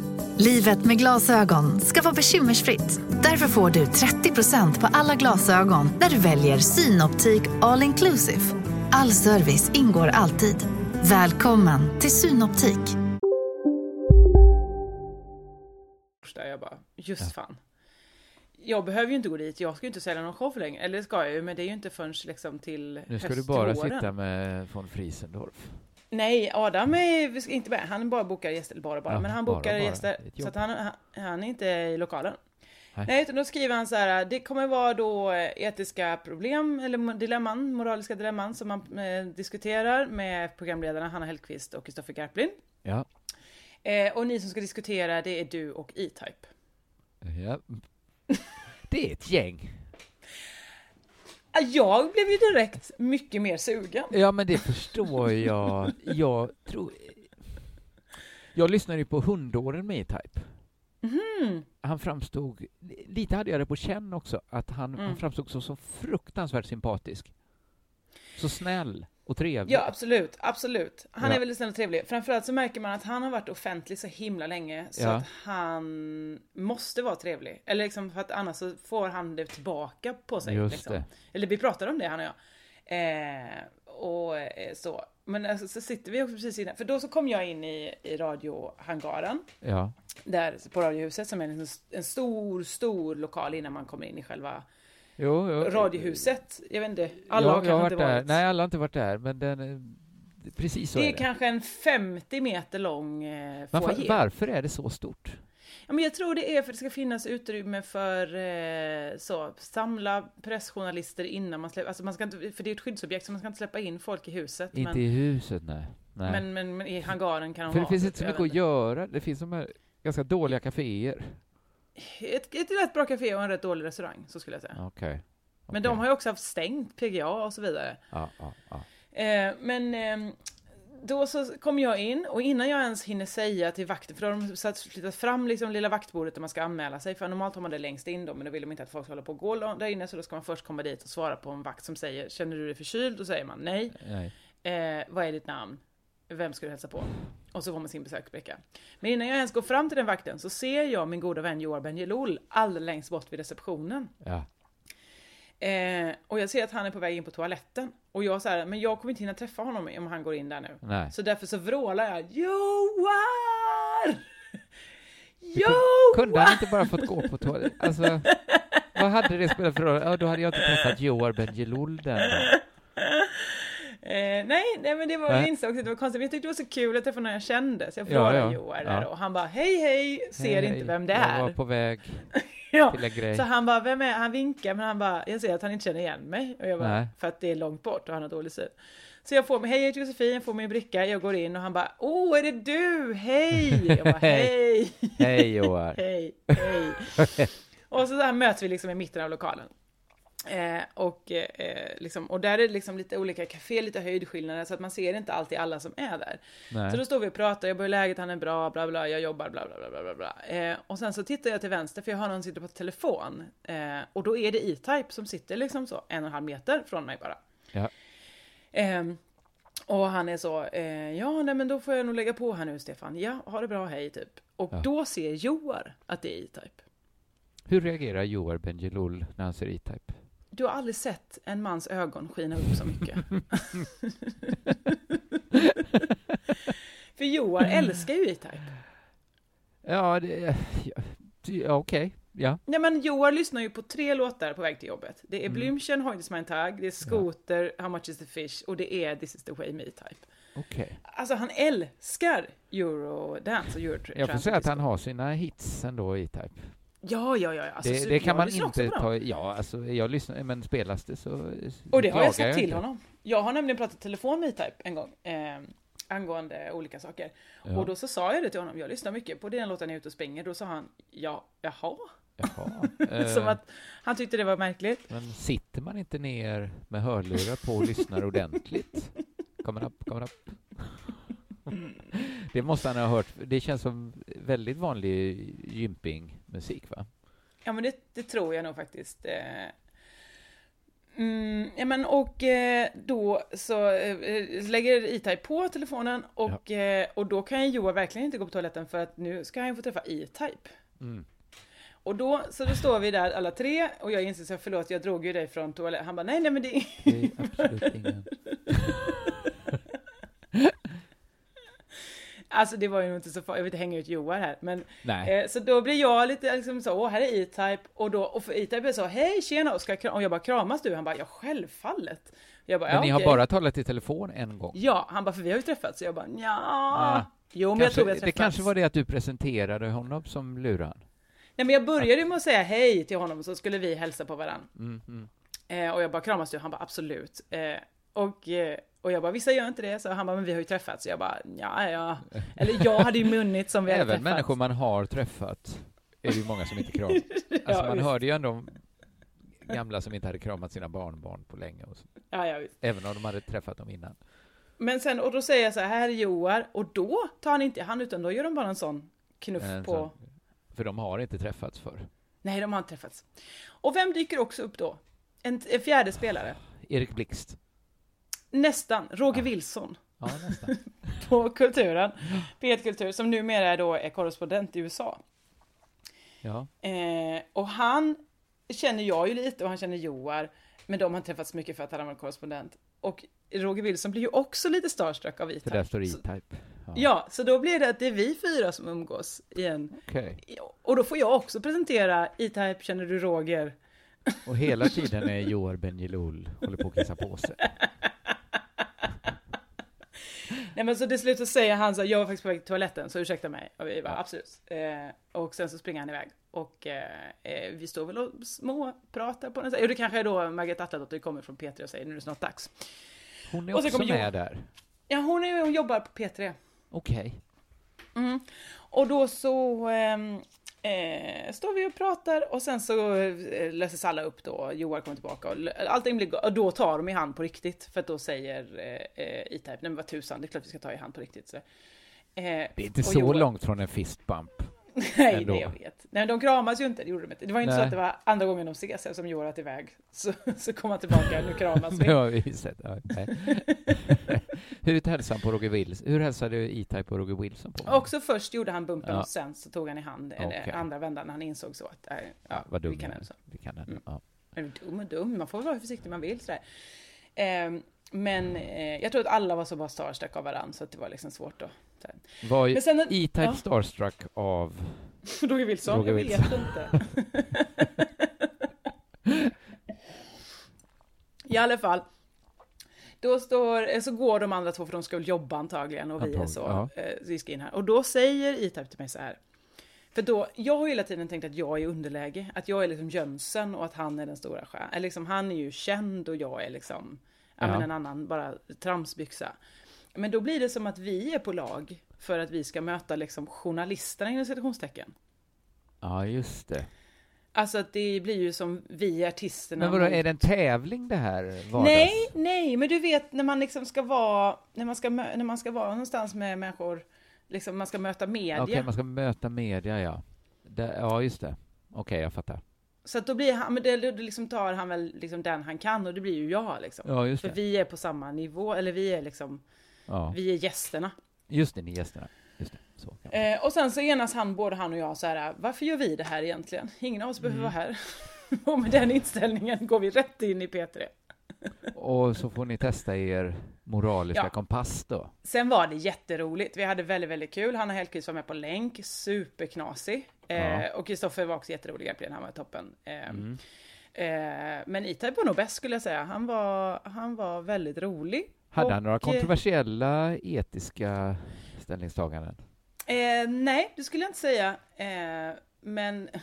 Speaker 6: Livet med glasögon ska vara bekymmersfritt. Därför får du 30% på alla glasögon när du väljer Synoptik All Inclusive. All service ingår alltid. Välkommen till Synoptik.
Speaker 2: Jag bara, just fan. Jag behöver ju inte gå dit, jag ska ju inte sälja någon show längre. Eller det ska jag ju, men det är ju inte förrän liksom till
Speaker 3: Nu ska
Speaker 2: höst
Speaker 3: du bara
Speaker 2: till våren.
Speaker 3: sitta med von Friesendorf.
Speaker 2: Nej, Adam är vi ska inte med. Han bara bokar gäster, eller bara bara,
Speaker 3: Ja,
Speaker 2: men han
Speaker 3: bara,
Speaker 2: bokar
Speaker 3: bara.
Speaker 2: gäster.
Speaker 3: Ett jobb.
Speaker 2: Så att han, han, han är inte i lokalen.
Speaker 3: Nej.
Speaker 2: Nej, utan då skriver han så här, det kommer vara då etiska problem, eller dilemman, moraliska dilemman som man eh, diskuterar med programledarna Hanna Hellquist och Kristoffer Garplind.
Speaker 3: Ja.
Speaker 2: Eh, och ni som ska diskutera, det är du och E-Type.
Speaker 3: ja. Det är ett gäng.
Speaker 2: Ah, Jag blev ju direkt mycket mer sugen.
Speaker 3: Ja, men det förstår jag. Jag tror... Jag lyssnade ju på hundåren med E-Type.
Speaker 2: Mhm.
Speaker 3: Han framstod... Lite hade jag det på känn också, att han,
Speaker 2: Mm.
Speaker 3: han framstod så, så fruktansvärt sympatisk. Så snäll och trevlig.
Speaker 2: Ja absolut, absolut. Han
Speaker 3: Ja.
Speaker 2: är väldigt snäll och trevlig. Framförallt så märker man att han har varit offentlig så himla länge så
Speaker 3: Ja.
Speaker 2: att han måste vara trevlig. Eller liksom för att annars så får han det tillbaka på sig.
Speaker 3: Just
Speaker 2: liksom.
Speaker 3: det.
Speaker 2: Eller vi pratade om det han och jag. Eh, och eh, så. Men alltså, så sitter vi också precis innan, för då så kom jag in i, i radiohangaren
Speaker 3: Ja.
Speaker 2: där på Radiohuset som är en, en stor, stor lokal innan man kommer in i själva
Speaker 3: Jo, jo.
Speaker 2: Radiohuset. Jag vet inte, alla
Speaker 3: Ja,
Speaker 2: har
Speaker 3: jag har
Speaker 2: kanske inte
Speaker 3: varit där.
Speaker 2: varit.
Speaker 3: Nej, alla har inte varit där, men den... eh, Precis så
Speaker 2: det
Speaker 3: är
Speaker 2: är
Speaker 3: det.
Speaker 2: kanske en 50 meter lång eh,
Speaker 3: Varför,
Speaker 2: foajé.
Speaker 3: varför är det så stort?
Speaker 2: Ja, men jag tror det är för att det ska finnas utrymme för eh, så, samla pressjournalister innan man släpper, alltså man ska inte, för det är ett skyddsobjekt så man ska inte släppa in folk i huset.
Speaker 3: Inte i huset, nej.
Speaker 2: men,
Speaker 3: nej.
Speaker 2: men, men, men i hangaren kan de
Speaker 3: För det
Speaker 2: ha
Speaker 3: finns
Speaker 2: typ,
Speaker 3: inte så
Speaker 2: jag
Speaker 3: mycket
Speaker 2: vet
Speaker 3: att göra. Det finns de här ganska dåliga kaféer.
Speaker 2: Ett, ett rätt bra café och en rätt dålig restaurang, så skulle jag säga.
Speaker 3: Okej.
Speaker 2: Men de har ju också haft stängt PGA och så vidare.
Speaker 3: Ja, ja, ja.
Speaker 2: Eh, men ehm, då så kom jag in och innan jag ens hinner säga till vakten, för då har de satt, flyttat fram liksom lilla vaktbordet där man ska anmäla sig, för normalt har man det längst in då, men då vill de inte att folk ska hålla på och gå lång- där inne, så då ska man först komma dit och svara på en vakt som säger “Känner du dig förkyld?” Då säger man nej.
Speaker 3: Nej.
Speaker 2: Eh, “Vad är ditt namn?” “Vem ska du hälsa på?” Och så får man sin besöksbricka. Men innan jag ens går fram till den vakten så ser jag min goda vän Joar Bendjelloul alldeles längst bort vid receptionen.
Speaker 3: Ja.
Speaker 2: Eh, och jag ser att han är på väg in på toaletten. Och jag säger, men jag kommer inte hinna träffa honom om han går in där nu.
Speaker 3: Nej.
Speaker 2: Så därför så vrålar jag, Joar!
Speaker 3: kun- Kunde han
Speaker 2: Joar!
Speaker 3: inte bara fått gå på toaletten? Alltså, vad hade det spelat för roll? Ja, då hade jag inte träffat Johar Bendjelloul den dagen.
Speaker 2: Eh, nej, nej, men det var,
Speaker 3: Nej.
Speaker 2: jag insåg att det var konstigt, men jag tyckte det var så kul att träffa någon jag kände. Så jag
Speaker 3: Ja,
Speaker 2: vrålade
Speaker 3: ja.
Speaker 2: Joar
Speaker 3: Ja.
Speaker 2: där och han bara, hej hej, ser
Speaker 3: Hej,
Speaker 2: inte vem det
Speaker 3: Jag var
Speaker 2: är.
Speaker 3: på väg
Speaker 2: Ja.
Speaker 3: till en grej.
Speaker 2: Så han bara, vem är Han vinkar, men han bara, jag ser att han inte känner igen mig. Och jag bara,
Speaker 3: Nej.
Speaker 2: för att det är långt bort och han har dålig syn. Så jag får mig, hej jag heter Josefin, jag får min bricka, jag går in och han bara, åh är det du, hej! Jag bara, hej!
Speaker 3: Hej Johar.
Speaker 2: hej, hej. Och så där möts vi liksom i mitten av lokalen. Eh, och, eh, eh, liksom, och där är det liksom lite olika café, lite höjdskillnader, så att man ser inte alltid alla som är där.
Speaker 3: Nej.
Speaker 2: Så då står vi och pratar, jag börjar läget, han är bra, bla bla, jag jobbar, bla bla bla, bla bla bla. Eh, och sen så tittar jag till vänster, för jag har någon som sitter på telefon. Eh, och då är det E-Type som sitter liksom så, en och en halv meter från mig bara.
Speaker 3: Ja.
Speaker 2: Ehm, och han är så, eh, ja nej men då får jag nog lägga på här nu Stefan, ja ha det bra, hej typ. Och då ser Joar att det är E-Type.
Speaker 3: Hur reagerar Johar Bendjelloul när han ser E-Type?
Speaker 2: Du har aldrig sett en mans ögon skina upp så mycket. För Joar älskar ju E-Type.
Speaker 3: Ja, det, ja, ja, okej. Ja.
Speaker 2: Nej men Joar lyssnar ju på tre låtar på väg till jobbet. Det är
Speaker 3: Mm.
Speaker 2: Blümchen, Hoy is mein Tag, det är Scooter, How much is the fish och det är This is the way me type.
Speaker 3: Okej.
Speaker 2: Alltså han älskar Eurodance och Eurotrip.
Speaker 3: Jag får säga att han har sina hits ändå i Type.
Speaker 2: Ja, ja, ja. Alltså,
Speaker 3: det,
Speaker 2: så-
Speaker 3: det kan
Speaker 2: jag
Speaker 3: man
Speaker 2: lyssnar också
Speaker 3: inte
Speaker 2: på dem.
Speaker 3: ta... Ja, alltså, jag lyssnar, men spelas det så...
Speaker 2: Och det har jag
Speaker 3: klagar
Speaker 2: sagt till
Speaker 3: inte.
Speaker 2: honom. Jag har nämligen pratat telefon med E E-Type en gång. Eh, angående olika saker. Och då så sa jag det till honom, jag lyssnar mycket på den låten när jag är ute och springer. Då sa han, ja, jaha?
Speaker 3: Jaha. Eh,
Speaker 2: Som att han tyckte det var märkligt.
Speaker 3: Men sitter man inte ner med hörlurar på och lyssnar ordentligt? Kommer upp, kommer upp. Det måste han ha hört. Det känns som väldigt vanlig gympingmusik, va?
Speaker 2: Ja men det, det tror jag nog faktiskt. Eh, Mm, ja, men och eh, då så eh, lägger E-Type på telefonen och, eh, och då kan ju Joa verkligen inte gå på toaletten för att nu ska han ju få träffa E-Type. Och då, så då står vi där alla tre och jag inser så här, förlåt jag drog ju dig från toaletten. Han bara nej nej men det är
Speaker 3: Det är absolut ingen...
Speaker 2: Alltså det var ju nog inte så farligt, jag vill inte hänga ut Joar här men
Speaker 3: Nej.
Speaker 2: eh, Så då blir jag lite liksom så, åh här är E-Type och då, och för E-Type är så, hej tjena och, ska jag kram-" och jag bara kramas du? Han bara, ja självfallet jag bara,
Speaker 3: Men
Speaker 2: ja,
Speaker 3: ni har
Speaker 2: okej."
Speaker 3: bara talat i telefon en gång?
Speaker 2: Ja, han bara, för vi har ju träffats. Så jag bara, ja.
Speaker 3: Ah.
Speaker 2: Jo, men jag
Speaker 3: Kanske-
Speaker 2: tror vi har
Speaker 3: det
Speaker 2: träffats.
Speaker 3: kanske var det att du presenterade honom som luran?
Speaker 2: Nej, men jag började ju med att säga hej till honom, så skulle vi hälsa på varandra.
Speaker 3: Mm,
Speaker 2: Eh, och jag bara, kramas du? Han bara, absolut. Eh, och, eh, och jag bara, vissa gör inte det. Så han bara, men vi har ju träffats. Så jag bara, ja, ja. Eller jag hade ju munnit som vi hade
Speaker 3: Även
Speaker 2: träffats.
Speaker 3: människor man har träffat är det ju många som inte kramar. Alltså
Speaker 2: Ja,
Speaker 3: man
Speaker 2: visst.
Speaker 3: hörde ju ändå om gamla som inte hade kramat sina barnbarn på länge, och så,
Speaker 2: Ja, ja, visst.
Speaker 3: även om de hade träffat dem innan.
Speaker 2: Men sen, och då säger jag så här, här är Joar. Och då tar han inte han, utan då gör de bara en sån knuff
Speaker 3: En
Speaker 2: på...
Speaker 3: sån- För de har inte träffats förr.
Speaker 2: Nej, de har inte träffats. Och vem dyker också upp då? En, en fjärde spelare.
Speaker 3: Erik Blixt.
Speaker 2: Nästan, Roger Wilson.
Speaker 3: Ja, nästan.
Speaker 2: på kulturen, P1 Kultur, som numera då är korrespondent i USA.
Speaker 3: Ja.
Speaker 2: Eh, och han känner jag ju lite och han känner Joar, men de har träffats mycket för att han har varit korrespondent. Och Roger Wilson blir ju också lite starstruck av
Speaker 3: För där
Speaker 2: E-Type.
Speaker 3: står
Speaker 2: Så-
Speaker 3: E-Type.
Speaker 2: Ja, så då blir det att det är vi fyra som umgås igen.
Speaker 3: Okej.
Speaker 2: Och då får jag också presentera E-Type, känner du Roger?
Speaker 3: Och hela tiden är Joar Bendjelloul håller på att kissa på sig.
Speaker 2: Nej men så till slut så säger han så här, jag var faktiskt på väg till toaletten så ursäkta mig. Och vi bara absolut. Eh, och sen så springer han iväg. Och eh, eh, vi står väl och småpratar på något sätt. Jo det kanske är då Margareta Atladotter kommer från P3 och säger nu är det snart dags.
Speaker 3: Hon är
Speaker 2: Och så
Speaker 3: också
Speaker 2: kommer Joar.
Speaker 3: med där.
Speaker 2: Ja hon, är, hon jobbar på P3.
Speaker 3: Okej.
Speaker 2: Och då så ehm, eh, står vi och pratar och sen så eh, löses alla upp då. Joar kommer tillbaka och lö- allting blir go- och då tar de i hand på riktigt. För att då säger eh, eh, E-Type, nej men vad tusan det är klart vi ska ta i hand på riktigt. Så, eh,
Speaker 3: Det är inte
Speaker 2: och
Speaker 3: så
Speaker 2: Joar-
Speaker 3: långt från en fist bump.
Speaker 2: Nej,
Speaker 3: ändå.
Speaker 2: det jag vet. Nej, men de kramas ju inte, det gjorde de inte. Det var ju inte så
Speaker 3: Nej.
Speaker 2: att det var andra gången de ses som Joar att iväg. Så, så kom han tillbaka, nu kramas
Speaker 3: Nu
Speaker 2: vi.
Speaker 3: har vi sett. Ja, nej. Hur hälsade han på Roger Wilson? Hur hälsade E-Type och Roger Wilson på?
Speaker 2: Också först gjorde han bumpen
Speaker 3: Ja.
Speaker 2: och sen så tog han i hand eh,
Speaker 3: Okej.
Speaker 2: andra vändan när han insåg så att, äh, ja,
Speaker 3: ja, vad dum
Speaker 2: vi kan Mm.
Speaker 3: jag är.
Speaker 2: ändå.
Speaker 3: Vi kan ändå. Ja.
Speaker 2: Men dum och dum, man får väl vara hur försiktig man vill sådär. Ehm, men eh, jag tror att alla var så bara starstruck av varandra så att det var liksom svårt då. Såhär.
Speaker 3: Var
Speaker 2: Men sen-
Speaker 3: E-Type
Speaker 2: ja.
Speaker 3: starstruck av...
Speaker 2: Roger Wilson,
Speaker 3: Roger
Speaker 2: jag vet
Speaker 3: Wilson.
Speaker 2: inte. I alla fall. Då står, eh, så går de andra två för de ska väl jobba antagligen och vi är
Speaker 3: Antagligen,
Speaker 2: så,
Speaker 3: ja.
Speaker 2: eh, vi ska in här. Och då säger E-Type till mig så här. För då, jag har ju hela tiden tänkt att jag är i underläge, att jag är liksom Jönsen och att han är den stora stjärnan. Eller Liksom, han är ju känd och jag är liksom, ja.
Speaker 3: Ja.
Speaker 2: men en annan bara tramsbyxa. Men då blir det som att vi är på lag för att vi ska möta liksom journalisterna inom citationstecken.
Speaker 3: Ja, just det.
Speaker 2: Alltså att det blir ju som vi artisterna.
Speaker 3: Men vadå,
Speaker 2: mot-
Speaker 3: är det en tävling det här? Vardags?
Speaker 2: Nej, nej, men du vet när man liksom ska vara, när man ska, mö- när man ska vara någonstans med människor, liksom man ska möta media.
Speaker 3: Okej, man ska möta media, ja. Det, ja, just det. Okej, jag fattar.
Speaker 2: Så att då blir han, men det, då liksom tar han väl liksom den han kan och det blir ju jag liksom.
Speaker 3: Ja, just
Speaker 2: För
Speaker 3: det.
Speaker 2: vi är på samma nivå, eller vi är liksom,
Speaker 3: Ja.
Speaker 2: vi är gästerna.
Speaker 3: Just det, ni gästerna. Just det. Så. ja.
Speaker 2: Eh, och sen så enas han, både han och jag, så här, varför gör vi det här egentligen? Ingen av oss behöver
Speaker 3: Mm.
Speaker 2: vara här. och med den inställningen går vi rätt in i P3.
Speaker 3: Och så får ni testa er moraliska
Speaker 2: Ja.
Speaker 3: kompass då?
Speaker 2: Sen var det jätteroligt. Vi hade väldigt, väldigt kul. Hanna Hellquist var med på länk. Superknasig. Eh, och Kristoffer var också jätterolig egentligen. Han var toppen. Eh,
Speaker 3: Mm.
Speaker 2: eh, men Itab var nog bäst skulle jag säga. Han var, han var väldigt rolig.
Speaker 3: Hade
Speaker 2: Och, eh,
Speaker 3: han några kontroversiella etiska ställningstaganden?
Speaker 2: Eh, nej, det skulle jag inte säga. Eh, men... för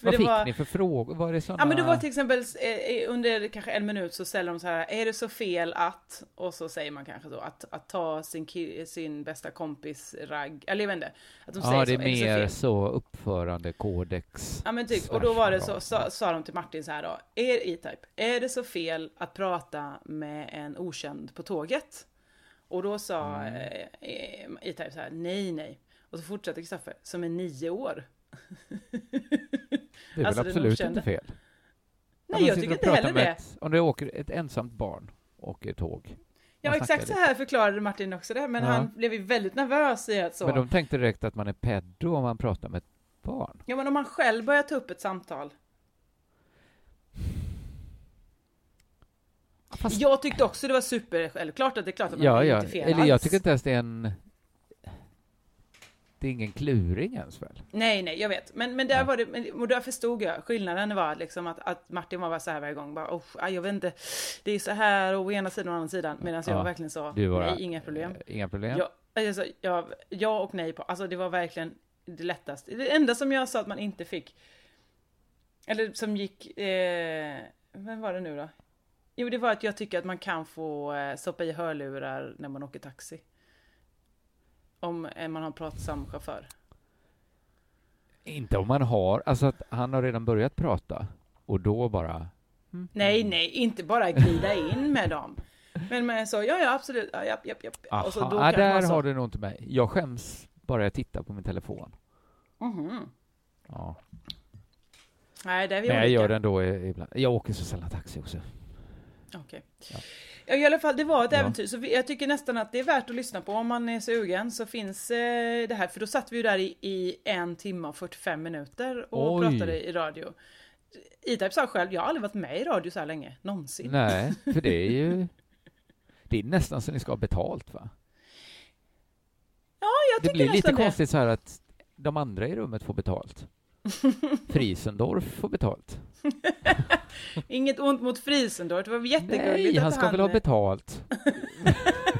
Speaker 3: Vad
Speaker 2: det
Speaker 3: fick
Speaker 2: var-
Speaker 3: ni för frågor? Var det sådana...
Speaker 2: Ja men det var typ till exempel eh, under kanske en minut så ställer de så här, är det så fel att, och så säger man kanske då att, att ta sin, ki- sin bästa kompis ragg, eller jag vet inte. Att de
Speaker 3: ja, det är
Speaker 2: så, "Är
Speaker 3: mer
Speaker 2: det
Speaker 3: så,
Speaker 2: så fel?"
Speaker 3: uppförandekodex.
Speaker 2: Ja men typ, och då var det så,
Speaker 3: slash
Speaker 2: sa, sa de till Martin så här då, är E-Type, är det så fel att prata med en okänd på tåget? Och då sa
Speaker 3: Mm.
Speaker 2: eh, eh, E-Type så här, nej nej. Och så fortsatte Kristoffer, som är nio år.
Speaker 3: Det är
Speaker 2: alltså,
Speaker 3: väl
Speaker 2: det
Speaker 3: absolut
Speaker 2: okända.
Speaker 3: inte fel?
Speaker 2: Nej jag tycker inte heller det.
Speaker 3: Ett, om det åker ett ensamt barn åker tåg.
Speaker 2: Ja,
Speaker 3: Man
Speaker 2: exakt så
Speaker 3: snackar
Speaker 2: här förklarade Martin också det, men
Speaker 3: Ja.
Speaker 2: han blev ju väldigt nervös i att så.
Speaker 3: Men de tänkte direkt att man är peddo om man pratar med ett barn.
Speaker 2: Ja, men om han själv börjar ta upp ett samtal. Jag tyckte också det var super, självklart att det är klart att man
Speaker 3: Ja,
Speaker 2: det är
Speaker 3: ja.
Speaker 2: inte fel
Speaker 3: Eller jag
Speaker 2: alls.
Speaker 3: tycker inte ens det är en... Det är ingen kluring ens väl?
Speaker 2: Nej, nej, jag vet. Men, men där
Speaker 3: Ja.
Speaker 2: var det, men- och där förstod jag skillnaden var liksom att, att Martin var bara så här varje gång, bara oh, aj, jag vet inte, det är så här och å ena sidan och å andra sidan, medan
Speaker 3: Ja.
Speaker 2: jag verkligen sa,
Speaker 3: Du var-
Speaker 2: nej, inga problem.
Speaker 3: Eh, Inga problem?
Speaker 2: Ja, alltså, ja, ja och nej på, alltså det var verkligen det lättaste. Det enda som jag sa att man inte fick, eller som gick, eh, vem var det nu då? Jo, det var att jag tycker att man kan få eh, stoppa i hörlurar när man åker taxi. Om eh, man har en pratsam chaufför.
Speaker 3: Inte om man har... Alltså att han har redan börjat prata och då bara...
Speaker 2: Nej,
Speaker 3: Mm.
Speaker 2: nej, inte bara glida in med dem. Men man sa ja, ja, absolut, ja, japp, japp, japp.
Speaker 3: Aha,
Speaker 2: Och så Alltså, då
Speaker 3: ah,
Speaker 2: kan man
Speaker 3: där
Speaker 2: så-
Speaker 3: har du nog inte mig. Jag skäms bara jag tittar på min telefon.
Speaker 2: Mhm.
Speaker 3: Ja.
Speaker 2: Nej, där är vi
Speaker 3: Men jag
Speaker 2: olika.
Speaker 3: gör det ändå i- ibland. Jag åker så sällan taxi också.
Speaker 2: Okej.
Speaker 3: Ja.
Speaker 2: Ja. I alla fall, det var ett
Speaker 3: Ja.
Speaker 2: äventyr. Så vi, jag tycker nästan att det är värt att lyssna på om man är sugen. Så finns eh, det här. För då satt vi ju där i, i en timme och 45 minuter och
Speaker 3: Oj.
Speaker 2: pratade i radio. E-Type sa själv, jag har aldrig varit med i radio så här länge. Någonsin.
Speaker 3: Nej, för det är ju... Det är nästan så ni ska ha betalt, va?
Speaker 2: Ja, jag
Speaker 3: Det
Speaker 2: tycker
Speaker 3: blir lite
Speaker 2: nästan det.
Speaker 3: konstigt så här att de andra i rummet får betalt. Friesendorf får betalt.
Speaker 2: Inget ont mot Friesendorf. Det var jättegulligt
Speaker 3: Nej,
Speaker 2: att
Speaker 3: han ska väl ha betalt.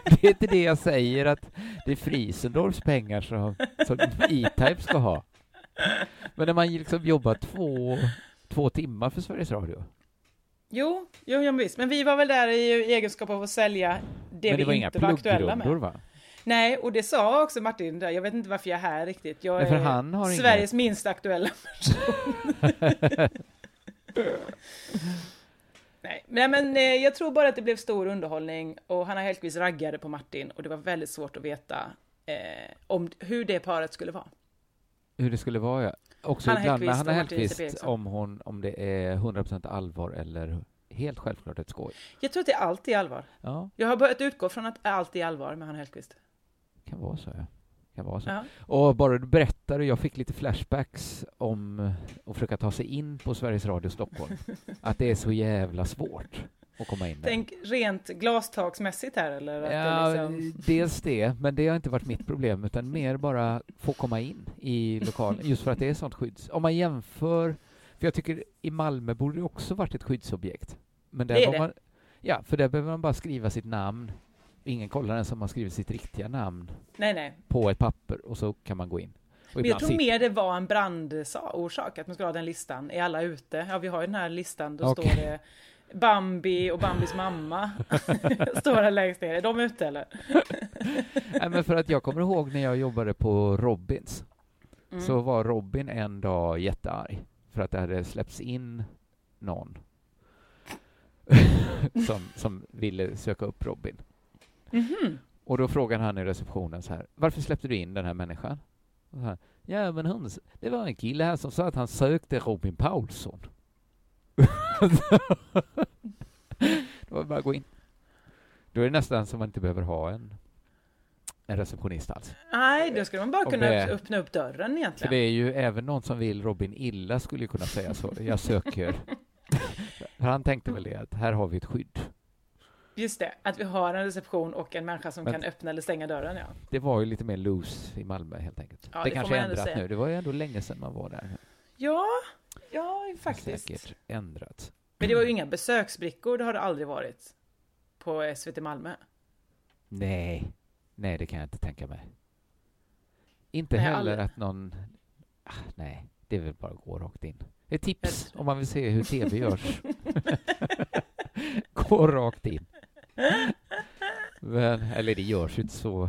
Speaker 3: det är inte det jag säger, att det är Friesendorfs pengar som, som E-Type ska ha. Men när man liksom jobbar två, två timmar för Sveriges Radio.
Speaker 2: Jo, jo, jo, men visst. Men vi var väl där i, i egenskap av att sälja det
Speaker 3: Men det
Speaker 2: vi
Speaker 3: var inga
Speaker 2: inte var aktuella
Speaker 3: pluggrundor,
Speaker 2: med.
Speaker 3: va?
Speaker 2: Nej, och det sa också Martin där. Jag vet inte varför jag är här riktigt. Jag
Speaker 3: Nej, för
Speaker 2: är
Speaker 3: han har inga-
Speaker 2: Sveriges minst aktuella Nej, nej men eh, jag tror bara att det blev stor underhållning och Hanna Hellquist raggade på Martin och det var väldigt svårt att veta eh, om hur det paret skulle vara.
Speaker 3: Hur det skulle vara, ja. Också
Speaker 2: Hanna
Speaker 3: ibland
Speaker 2: Hellquist
Speaker 3: med Hanna
Speaker 2: och Martin
Speaker 3: Hellquist
Speaker 2: Sepersson.
Speaker 3: om, hon, om det är 100% allvar eller helt självklart ett skoj.
Speaker 2: Jag tror att det är allt i allvar.
Speaker 3: Ja,
Speaker 2: Jag har börjat utgå från att allt är allvar med Hanna Hellquist.
Speaker 3: kan vara så. Ja. Kan vara så.
Speaker 2: Ja.
Speaker 3: Och bara du berättade, jag fick lite flashbacks om eh, att försöka ta sig in på Sveriges Radio Stockholm. att det är så jävla svårt att komma in där.
Speaker 2: Tänk rent glastaksmässigt här eller? Att det
Speaker 3: Ja,
Speaker 2: liksom...
Speaker 3: dels det, men det har inte varit mitt problem, utan mer bara få komma in i lokalen, just för att det är sånt skydds... Om man jämför, för jag tycker i Malmö borde det också varit ett skyddsobjekt. Men där
Speaker 2: Det är
Speaker 3: var
Speaker 2: det.
Speaker 3: Man, ja, för där behöver man bara skriva sitt namn. Ingen kollar ens om man skriver sitt riktiga namn
Speaker 2: Nej, nej.
Speaker 3: på ett papper och så kan man gå in. Och
Speaker 2: Men jag
Speaker 3: ibland
Speaker 2: tror
Speaker 3: sitter-
Speaker 2: mer det var en brandorsak, att man skulle ha den listan. Är alla ute? Ja, vi har ju den här listan. Då
Speaker 3: Okej.
Speaker 2: står det Bambi och Bambis mamma. står det längst ner. Är de ute eller?
Speaker 3: Nej, men för att jag kommer ihåg när jag jobbade på Robins,
Speaker 2: Mm.
Speaker 3: så var Robin en dag jättearg för att det hade släppts in någon som, som ville söka upp Robin. Och då frågade han i receptionen så här, varför släppte du in den här människan? Och så här, ja, men hon, det var en kille här som sa att han sökte Robin Paulsson. det var bara att gå in. Då är det nästan som man inte behöver ha en, en receptionist alls.
Speaker 2: Nej, då skulle man bara
Speaker 3: Om
Speaker 2: kunna
Speaker 3: det-
Speaker 2: upp- öppna upp dörren
Speaker 3: För det
Speaker 2: egentligen.
Speaker 3: är ju även någon som vill Robin illa skulle ju kunna säga så. Jag söker. För Han tänkte väl det att här har vi ett skydd.
Speaker 2: Just det, att vi har en reception och en människa som
Speaker 3: Men-
Speaker 2: kan öppna eller stänga dörren ja.
Speaker 3: Det var ju lite mer loose i Malmö helt enkelt.
Speaker 2: Ja,
Speaker 3: det,
Speaker 2: det får
Speaker 3: kanske
Speaker 2: man ändå
Speaker 3: ändrat
Speaker 2: säga.
Speaker 3: nu. Det var ju ändå länge sedan man var där.
Speaker 2: Ja, ja faktiskt.
Speaker 3: Säkert ändrat.
Speaker 2: Men det var ju inga besöksbrickor, det har det aldrig varit. På SVT Malmö.
Speaker 3: Nej, nej det kan jag inte tänka mig. Inte
Speaker 2: Nej,
Speaker 3: heller
Speaker 2: aldrig.
Speaker 3: att någon... Ah, nej, det är väl bara att gå rakt in. Ett tips
Speaker 2: Eller-
Speaker 3: om man vill se hur tv görs. gå rakt in. Men, eller det görs ju inte så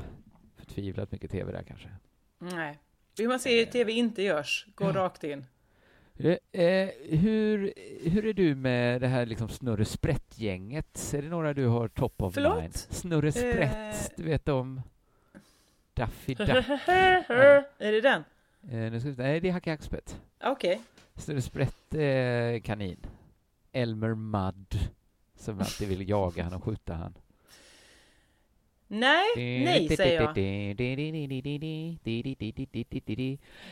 Speaker 3: förtvivlat mycket tv där kanske.
Speaker 2: Nej. Vill man se hur TV inte görs, gå
Speaker 3: Mm.
Speaker 2: rakt in.
Speaker 3: Eh, eh, hur, hur är du med det här liksom Snurre Sprätt-gänget? Är det några du har top of
Speaker 2: Förlåt?
Speaker 3: mind? Snurre Sprätt,
Speaker 2: Eh.
Speaker 3: du vet om Daffy Duck?
Speaker 2: är det den?
Speaker 3: Eh, nu ska vi, nej, det är Hacke Hackspett.
Speaker 2: Okej.
Speaker 3: Snurre Sprätt eh, kanin. Elmer Mudd, som alltid vill jaga han och skjuta han.
Speaker 2: Nej, nej säger jag.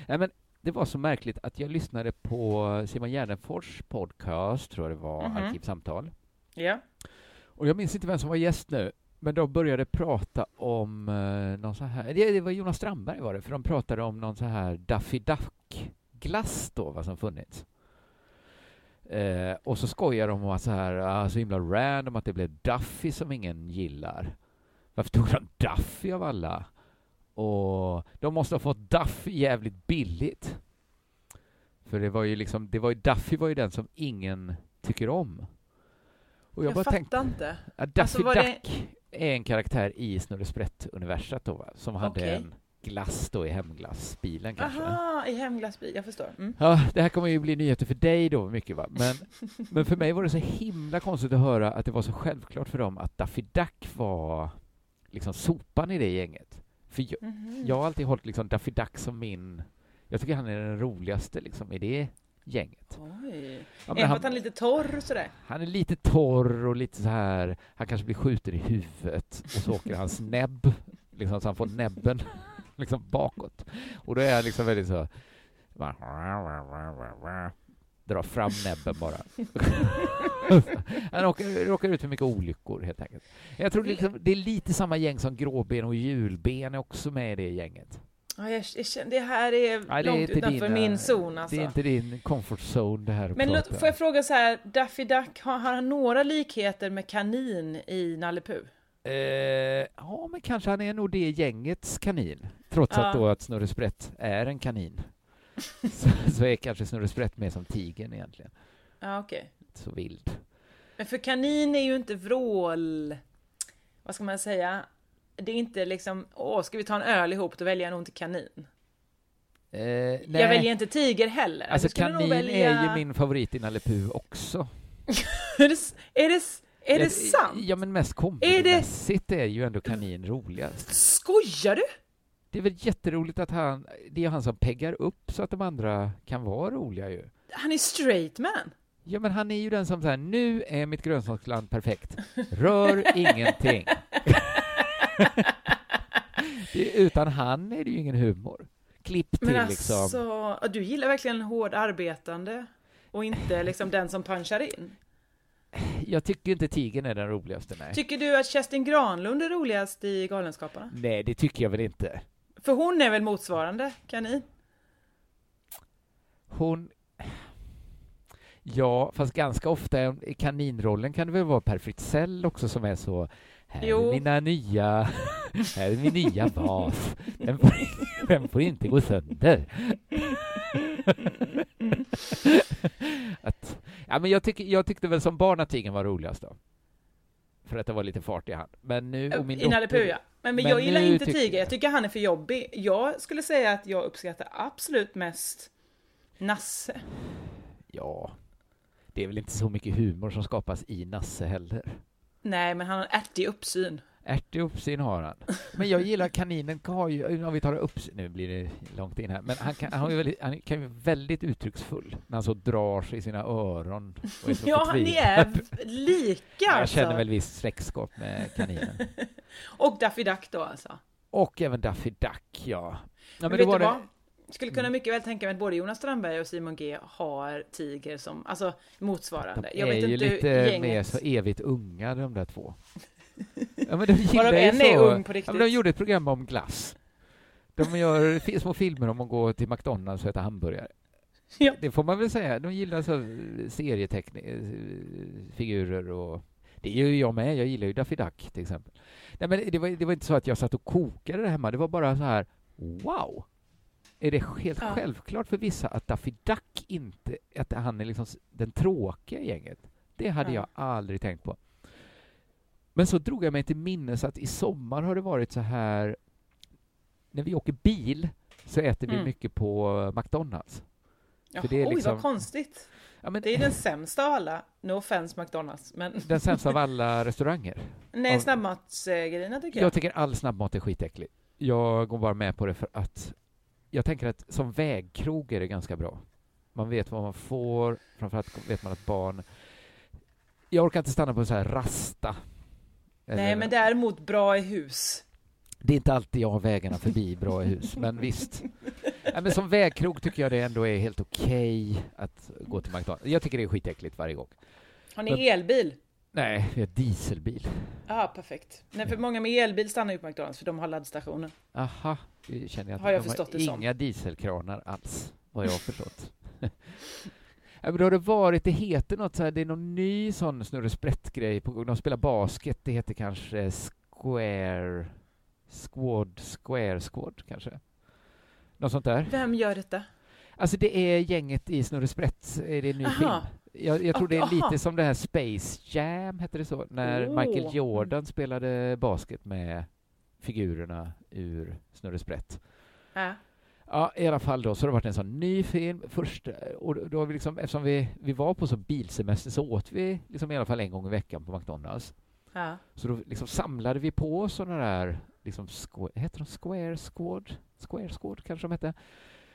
Speaker 3: Nej, men det var så märkligt att jag lyssnade på Simon Gärdenfors podcast, tror jag det var,
Speaker 2: Mhm.
Speaker 3: Arkivsamtal.
Speaker 2: Ja.
Speaker 3: Och jag minns inte vem som var gäst nu, men de började prata om eh, någon så här, det, det var Jonas Strandberg var det, för de pratade om någon så här Daffy Duck-glass då, vad som funnits. Eh, och så skojar de och var så här, ah, så himla random att det blev Duffy som ingen gillar. Varför tog de Duffy av alla? Och de måste ha fått Duffy jävligt billigt. För det var ju liksom, det var ju, Duffy var ju den som ingen tycker om. Och jag,
Speaker 2: Jag,
Speaker 3: bara
Speaker 2: fattar
Speaker 3: tänkte,
Speaker 2: inte.
Speaker 3: Ja, Daffy
Speaker 2: Alltså, var det-
Speaker 3: Duck är en karaktär i Snurre Sprätt-universat då, va? som hade
Speaker 2: Okej.
Speaker 3: en glass då i hemglassbilen kanske.
Speaker 2: Aha, i hemglassbil. Jag förstår. Mm.
Speaker 3: Ja, det här kommer ju bli nyheter för dig då mycket va, men, men för mig var det så himla konstigt att höra att det var så självklart för dem att Daffy Duck var liksom sopan i det gänget. För jag,
Speaker 2: Mhm.
Speaker 3: jag har alltid hållit liksom Daffy Duck som min, jag tycker han är den roligaste liksom i det gänget.
Speaker 2: Oj.
Speaker 3: Ja, men
Speaker 2: Även för att han är lite torr och sådär.
Speaker 3: Han är lite torr och lite så här, han kanske blir skjuten i huvudet och så åker hans näbb, liksom, så han får näbben liksom bakåt. Och då är han liksom väldigt så, bara, drar fram näbben bara. han åker, råkar ut för mycket olyckor helt enkelt. Jag tror liksom, det är lite samma gäng som Gråben och Julben är också med i det gänget.
Speaker 2: Ja, jag, jag känner, det här är
Speaker 3: Nej, det är
Speaker 2: långt
Speaker 3: inte
Speaker 2: utanför
Speaker 3: dina-
Speaker 2: min zon alltså.
Speaker 3: Det är inte din comfort zone det här att
Speaker 2: Men
Speaker 3: prata.
Speaker 2: låt, får jag fråga så här, Daffy Duck, har har han några likheter med kanin i Nalle Puh?
Speaker 3: Eh, ja, men kanske han är nog det gängets kanin. Trots
Speaker 2: Ja.
Speaker 3: att då att Snurre Sprätt är en kanin. så, så är kanske Snurre Sprätt mer som tigern egentligen.
Speaker 2: Ja, okej.
Speaker 3: Så vild.
Speaker 2: Men för kanin är ju inte vrål... Vad ska man säga? Det är inte liksom, åh, ska vi ta en öl ihop, då väljer jag nog inte kanin.
Speaker 3: Eh,
Speaker 2: Jag väljer inte tiger heller.
Speaker 3: Alltså
Speaker 2: Jag skulle nog
Speaker 3: kanin är ju
Speaker 2: välja-
Speaker 3: min favorit i Nalle Puh också.
Speaker 2: är det, s- är det, s- är det
Speaker 3: Jag-
Speaker 2: sant?
Speaker 3: Ja, men mest kompismässigt är, är ju ändå kanin roligast.
Speaker 2: Skojar du?
Speaker 3: Det är väl jätteroligt att han, det är han som peggar upp så att de andra kan vara roliga ju.
Speaker 2: Han är straight man.
Speaker 3: Ja, men han är ju den som säger nu är mitt grönsaksland perfekt. Rör ingenting. det, utan han är det ju ingen humor. Klipp till
Speaker 2: Men
Speaker 3: liksom.
Speaker 2: alltså, ja, du gillar verkligen hård arbetande och inte liksom den som punchar in.
Speaker 3: Jag tycker inte tigern är den roligaste, nej.
Speaker 2: Tycker du att Kerstin Granlund är roligast i Galenskaparna?
Speaker 3: nej, det tycker jag väl inte.
Speaker 2: För hon är väl motsvarande kanin?
Speaker 3: Hon... Ja, fast ganska ofta i kaninrollen kan det väl vara Per Fritzell också som är så här är
Speaker 2: Jo.
Speaker 3: mina nya, här är min nya vas. Den får, den får inte gå sönder. att, ja, men jag, tyck, jag tyckte väl som barn att tigern var roligast då. För att det var lite fart i han. Men nu och min
Speaker 2: I Nalle
Speaker 3: dotter-
Speaker 2: Puh, ja. Men, men
Speaker 3: Men
Speaker 2: jag gillar
Speaker 3: nu
Speaker 2: inte
Speaker 3: tycker
Speaker 2: Tiger,
Speaker 3: jag-
Speaker 2: jag tycker han är för jobbig. Jag skulle säga att jag uppskattar absolut mest Nasse.
Speaker 3: Ja, det är väl inte så mycket humor som skapas i Nasse heller.
Speaker 2: Nej, men han har en ärtig uppsyn.
Speaker 3: Ärtig uppsyn har han. Men jag gillar kaninen har ju, om vi tar uppsyn, nu blir det långt in här, men han kan, han har ju väldigt, han kan ju vara väldigt uttrycksfull när han så drar sig i sina öron och är så
Speaker 2: Ja, ni
Speaker 3: förtvivlad.
Speaker 2: är v- lika
Speaker 3: Jag känner
Speaker 2: alltså.
Speaker 3: väl viss släktskap med kaninen.
Speaker 2: Och Daffy Duck då alltså.
Speaker 3: Och även Daffy Duck, ja. ja
Speaker 2: Men
Speaker 3: då
Speaker 2: vet du
Speaker 3: var det- Mm.
Speaker 2: vad? Skulle kunna mycket väl tänka mig att både Jonas Strandberg och Simon G har Tiger som, alltså motsvarande.
Speaker 3: De är ju lite mer så evigt unga, de där två. Ja, men de gillar
Speaker 2: Varav
Speaker 3: ju
Speaker 2: en är
Speaker 3: så-
Speaker 2: ung på
Speaker 3: ja,
Speaker 2: riktigt.
Speaker 3: men De gjorde ett program om glass. De gör fi- små filmer om att gå till McDonalds och äta hamburgare.
Speaker 2: Ja.
Speaker 3: Det får man väl säga. De gillar alltså, eh, så serieteckningsfigurer eh, och... Det gör ju jag med. Jag gillar ju Daffy Duck, till exempel. Nej, men det, var, det var inte så att jag satt och kokade det hemma. Det var bara så här, wow! Är det helt
Speaker 2: Ja.
Speaker 3: självklart för vissa att Daffy Duck inte... Att han är liksom s- den tråkiga i gänget? Det hade
Speaker 2: Ja.
Speaker 3: jag aldrig tänkt på. Men så drog jag mig till minnes att i sommar har det varit så här... När vi åker bil så äter vi
Speaker 2: Mm.
Speaker 3: mycket på McDonalds.
Speaker 2: Ja,
Speaker 3: för det är
Speaker 2: Oj,
Speaker 3: liksom-
Speaker 2: vad konstigt.
Speaker 3: Ja, men
Speaker 2: Det är den sämsta av alla. No offense McDonalds, men
Speaker 3: den sämsta av alla restauranger.
Speaker 2: nej,
Speaker 3: Av-
Speaker 2: snabbmatsgrejerna tycker jag.
Speaker 3: Jag tycker all snabbmat är skitäcklig. Jag går bara med på det för att jag tänker att som vägkrog är det ganska bra. Man vet vad man får, framförallt vet man att barn... Jag orkar inte stanna på en så här rasta.
Speaker 2: Nej,
Speaker 3: Eller-
Speaker 2: men däremot bra i hus.
Speaker 3: Det är inte alltid jag har vägarna förbi bra hus, men visst. Nej, men som vägkrog tycker jag det ändå är helt okej att gå till McDonalds. Jag tycker det är skitäckligt varje gång.
Speaker 2: Har ni elbil?
Speaker 3: Nej, vi har dieselbil.
Speaker 2: Ja, perfekt. Nej, för många med elbil stannar ju på McDonalds för de har laddstationer.
Speaker 3: Aha, det känner jag att
Speaker 2: Har jag
Speaker 3: de
Speaker 2: förstått det
Speaker 3: inga
Speaker 2: som.
Speaker 3: dieselkranar alls, vad jag har förstått. Ja, men då har det varit, det heter något så här, det är någon ny sån snurresprätt-grej på gång. De spelar basket, det heter kanske Square... Squad, Square Squad kanske? Något sånt där.
Speaker 2: Vem gör detta?
Speaker 3: Alltså det är gänget i Snurre Sprätt, är det en ny
Speaker 2: Aha.
Speaker 3: film? Jag, jag tror det är
Speaker 2: Aha.
Speaker 3: lite som det här Space Jam, hette det så? När
Speaker 2: Oh.
Speaker 3: Michael Jordan spelade basket med figurerna ur Snurre Sprätt.
Speaker 2: Äh.
Speaker 3: Ja, i alla fall då, så har det varit en sån ny film. Först, eh, och då- då har vi liksom, eftersom vi, vi var på så bilsemester så åt vi liksom i alla fall en gång i veckan på McDonalds.
Speaker 2: Ja.
Speaker 3: Så då liksom samlade vi på oss sådana där, liksom, squ- heter de Square Squad? Square Squad kanske de hette?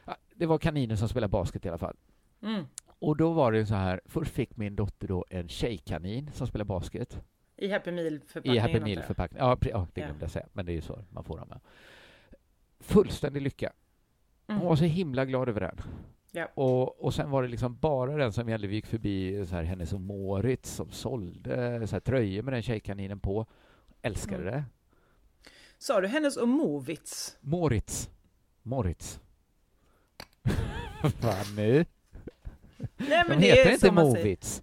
Speaker 3: Ja, det var kaniner som spelade basket i alla fall.
Speaker 2: Mm.
Speaker 3: Och då var det ju så här, först fick min dotter då en tjejkanin som spelar basket
Speaker 2: I Happy Meal förpackningen.
Speaker 3: i Happy
Speaker 2: antar jag.
Speaker 3: Meal förpackning. Ja, pre- ja, det
Speaker 2: Ja.
Speaker 3: glömde jag säga, men det är ju så man får dem. med. Fullständig lycka. Hon
Speaker 2: Mm.
Speaker 3: var så himla glad över den.
Speaker 2: Ja.
Speaker 3: Och, och sen var det liksom bara den som gällde. Vi gick förbi så här, hennes och Moritz som sålde så här, tröjor med den tjejkaninen på. Älskade
Speaker 2: Mm.
Speaker 3: det.
Speaker 2: Sa du hennes och Movits?
Speaker 3: Moritz. Moritz. Vad nu?
Speaker 2: Nej,
Speaker 3: De
Speaker 2: det är
Speaker 3: heter
Speaker 2: som
Speaker 3: inte
Speaker 2: man säger.
Speaker 3: Movits.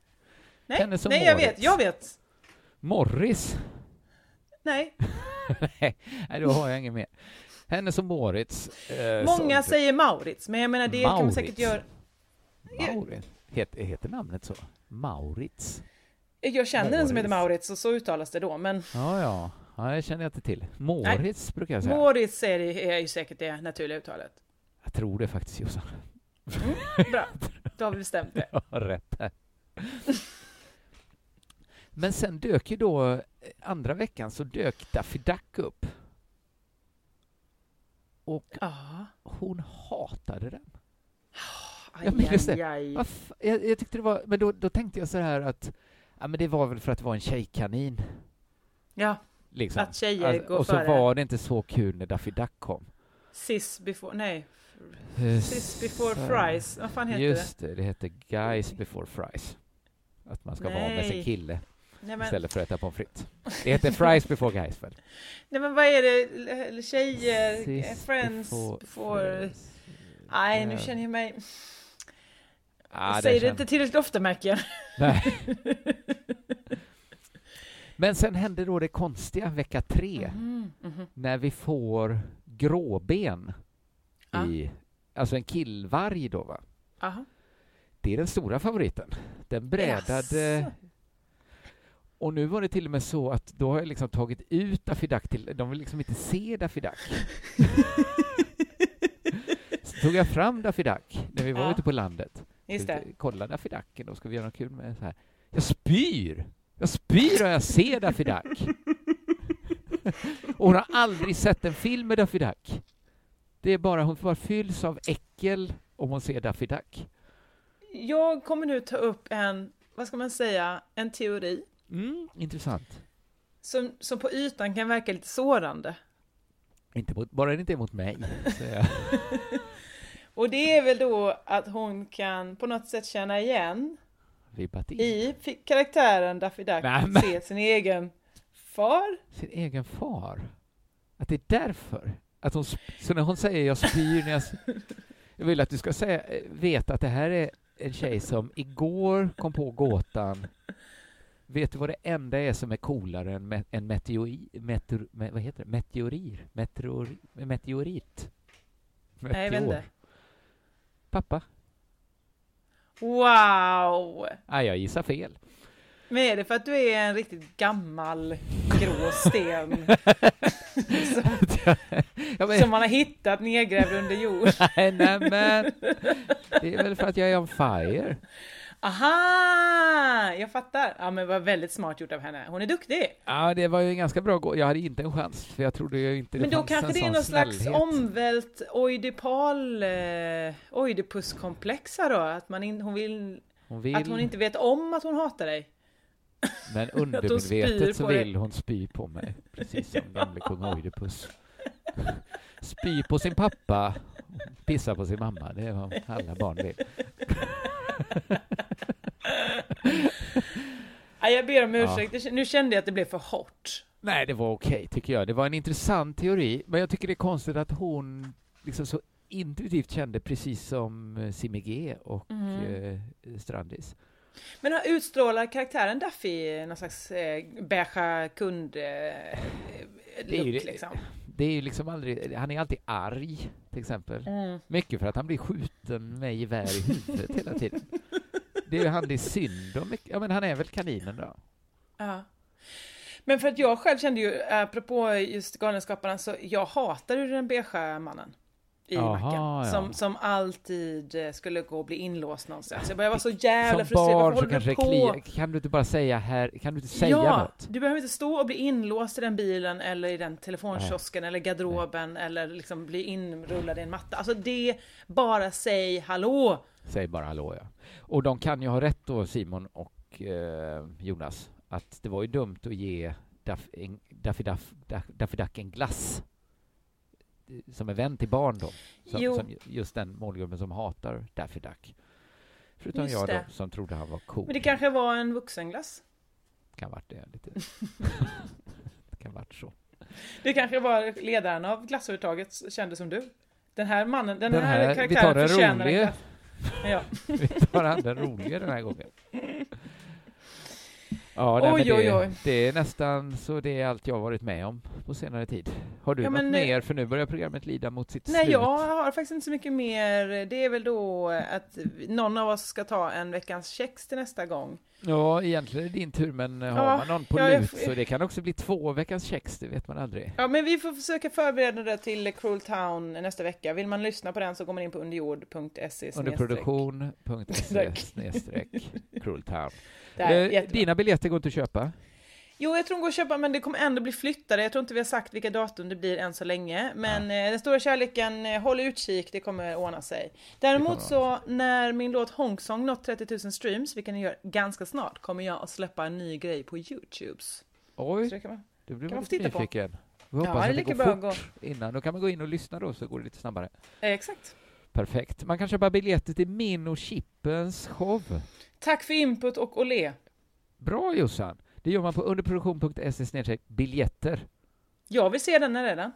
Speaker 2: Nej,
Speaker 3: Hennes och
Speaker 2: nej jag
Speaker 3: Mauritz.
Speaker 2: vet, jag vet.
Speaker 3: Morris.
Speaker 2: Nej.
Speaker 3: Nej, då har jag inget mer. Hennes och Moritz. Eh,
Speaker 2: Många
Speaker 3: som-
Speaker 2: säger Maurits, men jag menar det kan man
Speaker 3: Maurits.
Speaker 2: säkert göra.
Speaker 3: Maurits. Het, heter namnet så? Maurits?
Speaker 2: Jag känner en som heter
Speaker 3: Maurits.
Speaker 2: Maurits och så uttalas det då, men
Speaker 3: Ja, ja. ja det känner jag inte till. Moritz brukar jag säga.
Speaker 2: Maurits är, det, är ju säkert det naturliga uttalet.
Speaker 3: jag tror det faktiskt, Jossan.
Speaker 2: Bra, då har vi bestämt det.
Speaker 3: Jag har rätt här. Men sen dök ju då, eh, andra veckan så dök Daffy Duck upp. Och
Speaker 2: Ja,
Speaker 3: hon hatade den.
Speaker 2: Mm. aj,
Speaker 3: Jag minns
Speaker 2: aj,
Speaker 3: det.
Speaker 2: aj.
Speaker 3: Vad fa- Jag, jag tyckte det var, men då, då tänkte jag så här att, ja men det var väl för att vara en tjejkanin.
Speaker 2: Ja,
Speaker 3: Liksom.
Speaker 2: Att tjejer går
Speaker 3: Och så
Speaker 2: före.
Speaker 3: var det inte så kul när Daffy Duck kom.
Speaker 2: sis before, nej, sis before fries, vad fan heter
Speaker 3: eh, Just det, det hette Guys before fries. Att man ska vara med sin
Speaker 2: Nej.
Speaker 3: kille
Speaker 2: det? Nej men,
Speaker 3: istället för att äta pommes frites. Det heter fries before guys väl?
Speaker 2: nej men vad är det, Eller tjejer, eh,
Speaker 3: Sis
Speaker 2: friends before...
Speaker 3: before fries.
Speaker 2: Nej,
Speaker 3: Ja.
Speaker 2: nu känner jag mig...
Speaker 3: Ah,
Speaker 2: Säger det
Speaker 3: känner-
Speaker 2: inte tillräckligt ofta märker jag.
Speaker 3: Nej. Men sen hände då det konstiga vecka tre,
Speaker 2: Mhm. Mm,
Speaker 3: när vi får gråben
Speaker 2: Ah.
Speaker 3: i, alltså en killvarg då va?
Speaker 2: Aha.
Speaker 3: Det är den stora favoriten. Den brädade...
Speaker 2: Jaså.
Speaker 3: Och nu var det till och med så att då har jag liksom tagit ut Daffy Duck till... De vill liksom inte se Daffy Duck. så tog jag fram Daffy Duck när vi var
Speaker 2: Ja.
Speaker 3: ute på landet.
Speaker 2: Just det.
Speaker 3: Kolla Daffy Ducken, då ska vi göra något kul med så här. Jag spyr! Jag spyr och jag ser Daffy Duck! och hon har aldrig sett en film med Daffy Duck. Det är bara, hon bara fylls av äckel om hon ser Daffy Duck.
Speaker 2: Jag kommer nu ta upp en, vad ska man säga, en teori
Speaker 3: Mm, intressant.
Speaker 2: som, som på ytan kan verka lite sårande.
Speaker 3: Inte mot, bara det inte är mot mig. säger jag.
Speaker 2: Och det är väl då att hon kan på något sätt känna igen
Speaker 3: Vibbat in.
Speaker 2: i fi- karaktären Daffy Duck
Speaker 3: Nej, men-
Speaker 2: se sin egen far.
Speaker 3: Sin egen far. Att det är därför. Att hon, sp- så när hon säger jag spyr när jag... s- Jag vill att du ska säga, eh, veta att det här är en tjej som igår kom på gåtan. Vet du vad det enda är som är coolare än me- en meteoi, meteor, me, vad heter det? meteorir? Meteor, meteorit?
Speaker 2: Nej, jag vet inte.
Speaker 3: Pappa?
Speaker 2: Wow!
Speaker 3: Ah, jag gissar fel.
Speaker 2: Men är det för att du är en riktigt gammal grå sten
Speaker 3: Ja, men-
Speaker 2: som man har hittat nedgrävd under jord?
Speaker 3: Nej, nej, men det är väl för att jag är on fire.
Speaker 2: Aha! Jag fattar. Ja men vad väldigt smart gjort av henne. Hon är duktig.
Speaker 3: Ja, det var ju en ganska bra gå. Jag hade inte en chans, för jag trodde ju inte det
Speaker 2: Men då
Speaker 3: fanns
Speaker 2: kanske
Speaker 3: en
Speaker 2: det är
Speaker 3: sån
Speaker 2: någon slags
Speaker 3: snällhet.
Speaker 2: omvält oidipal eh, oidipuskomplex här då. Att, man in, hon vill,
Speaker 3: Hon vill,
Speaker 2: att hon inte vet om att hon hatar dig.
Speaker 3: men
Speaker 2: spyr
Speaker 3: undermedvetet så
Speaker 2: på dig.
Speaker 3: vill hon spy på mig, precis som gamle kung Oidipus. Spy på sin pappa, pissa på sin mamma, det är vad alla barn vill.
Speaker 2: Ja, jag ber om
Speaker 3: Ja.
Speaker 2: ursäkt. Det- Nu kände jag att det blev för hårt.
Speaker 3: Nej, det var okej, tycker jag. Det var en intressant teori, men jag tycker det är konstigt att hon liksom så intuitivt kände precis som eh, Simme G och eh,
Speaker 2: Mm.
Speaker 3: Strandis.
Speaker 2: Men har- utstrålar karaktären Duffy någon slags eh, beiga kund eh,
Speaker 3: Det är ju
Speaker 2: look,
Speaker 3: det.
Speaker 2: liksom?
Speaker 3: Det är ju liksom aldrig, han är alltid arg, till exempel.
Speaker 2: Mm.
Speaker 3: Mycket för att han blir skjuten med gevär i huvudet hela tiden. Det är ju han det är synd om. mycket. Ja, men han är väl kaninen då?
Speaker 2: Ja. Men för att jag själv kände ju, apropå just Galenskaparna, så jag hatade ju den beiga mannen. I
Speaker 3: Aha, ja.
Speaker 2: macken. Som, som alltid eh, skulle gå och bli inlåst någonstans. Jag bara, jag var så jävla
Speaker 3: Som
Speaker 2: frustrerad.
Speaker 3: barn
Speaker 2: Varför
Speaker 3: så
Speaker 2: håller
Speaker 3: kanske
Speaker 2: du
Speaker 3: det
Speaker 2: på?
Speaker 3: kliar. Kan du inte bara säga här, kan du inte säga
Speaker 2: ja,
Speaker 3: något?
Speaker 2: du behöver inte stå och bli inlåst i den bilen eller i den telefonkiosken eller garderoben eller liksom bli inrullad i en matta. Alltså det, bara säg hallå!
Speaker 3: Säg bara hallå, ja. Och de kan ju ha rätt då, Simon och eh, Jonas, att det var ju dumt att ge Duff, en, Daffy, Duff, Duff, Daffy Duck en glass eh, som en vän till barn då. Som,
Speaker 2: Jo.
Speaker 3: som ju- just den målgruppen som hatar Daffy Duck. Förutom
Speaker 2: Just
Speaker 3: jag då,
Speaker 2: det.
Speaker 3: som trodde han var cool.
Speaker 2: Men det kanske var en vuxenglass.
Speaker 3: kan varit det lite. det kan varit så.
Speaker 2: Det kanske var ledaren av glassföretaget kände som du. Den här mannen, den,
Speaker 3: Den
Speaker 2: här,
Speaker 3: här- vi tar
Speaker 2: karaktären
Speaker 3: den
Speaker 2: förtjänar en
Speaker 3: rolige.
Speaker 2: glass. Ja.
Speaker 3: Vi tar han den roliga den här gången. Ja, nej,
Speaker 2: Oj,
Speaker 3: men det,
Speaker 2: oj, oj.
Speaker 3: det är nästan så det är allt jag har varit med om på senare tid. Har du
Speaker 2: Ja,
Speaker 3: något
Speaker 2: men, eh,
Speaker 3: mer? För nu börjar programmet lida mot sitt
Speaker 2: Nej,
Speaker 3: slut.
Speaker 2: jag har faktiskt inte så mycket mer. Det är väl då att någon av oss ska ta en veckans kex till nästa gång.
Speaker 3: Ja, egentligen är det din tur, men eh, har
Speaker 2: Ja,
Speaker 3: man någon på
Speaker 2: ja, jag
Speaker 3: lut
Speaker 2: f-
Speaker 3: så det kan också bli två veckans kex, det vet man aldrig.
Speaker 2: Ja, men vi får försöka förbereda det till Cruel Town nästa vecka. Vill man lyssna på den så går man in på underjord.se.
Speaker 3: Underproduktion.se
Speaker 2: Tack.
Speaker 3: snedstreck crueltown.
Speaker 2: Där,
Speaker 3: Eh,
Speaker 2: jättebra.
Speaker 3: Dina biljetter går inte att köpa.
Speaker 2: Jo, jag tror hon går att köpa, men det kommer ändå bli flyttade. Jag tror inte vi har sagt vilka datum det blir än så länge. Men eh, den stora kärleken, eh, håll utkik, det kommer ordna sig. Däremot
Speaker 3: Det kommer
Speaker 2: så, när min låt Hongsong nått 30 000 streams, vilket den gör ganska snart, kommer jag att släppa en ny grej på YouTubes.
Speaker 3: Oj,
Speaker 2: Så det kan man...
Speaker 3: det blir
Speaker 2: kan
Speaker 3: man
Speaker 2: man få
Speaker 3: lite
Speaker 2: titta på.
Speaker 3: nyfiken. Vi
Speaker 2: Ja,
Speaker 3: hoppas
Speaker 2: det är
Speaker 3: att det
Speaker 2: lika
Speaker 3: går
Speaker 2: bra att
Speaker 3: fort innan. Då kan man gå in och lyssna då, så går det lite snabbare.
Speaker 2: eh, Exakt.
Speaker 3: Perfekt. Man kan köpa biljetter till min och Chippens show.
Speaker 2: Tack för input och olé.
Speaker 3: Bra Jossan! Det gör man på underproduktion.se snedstreck biljetter.
Speaker 2: Jag vill se den här redan.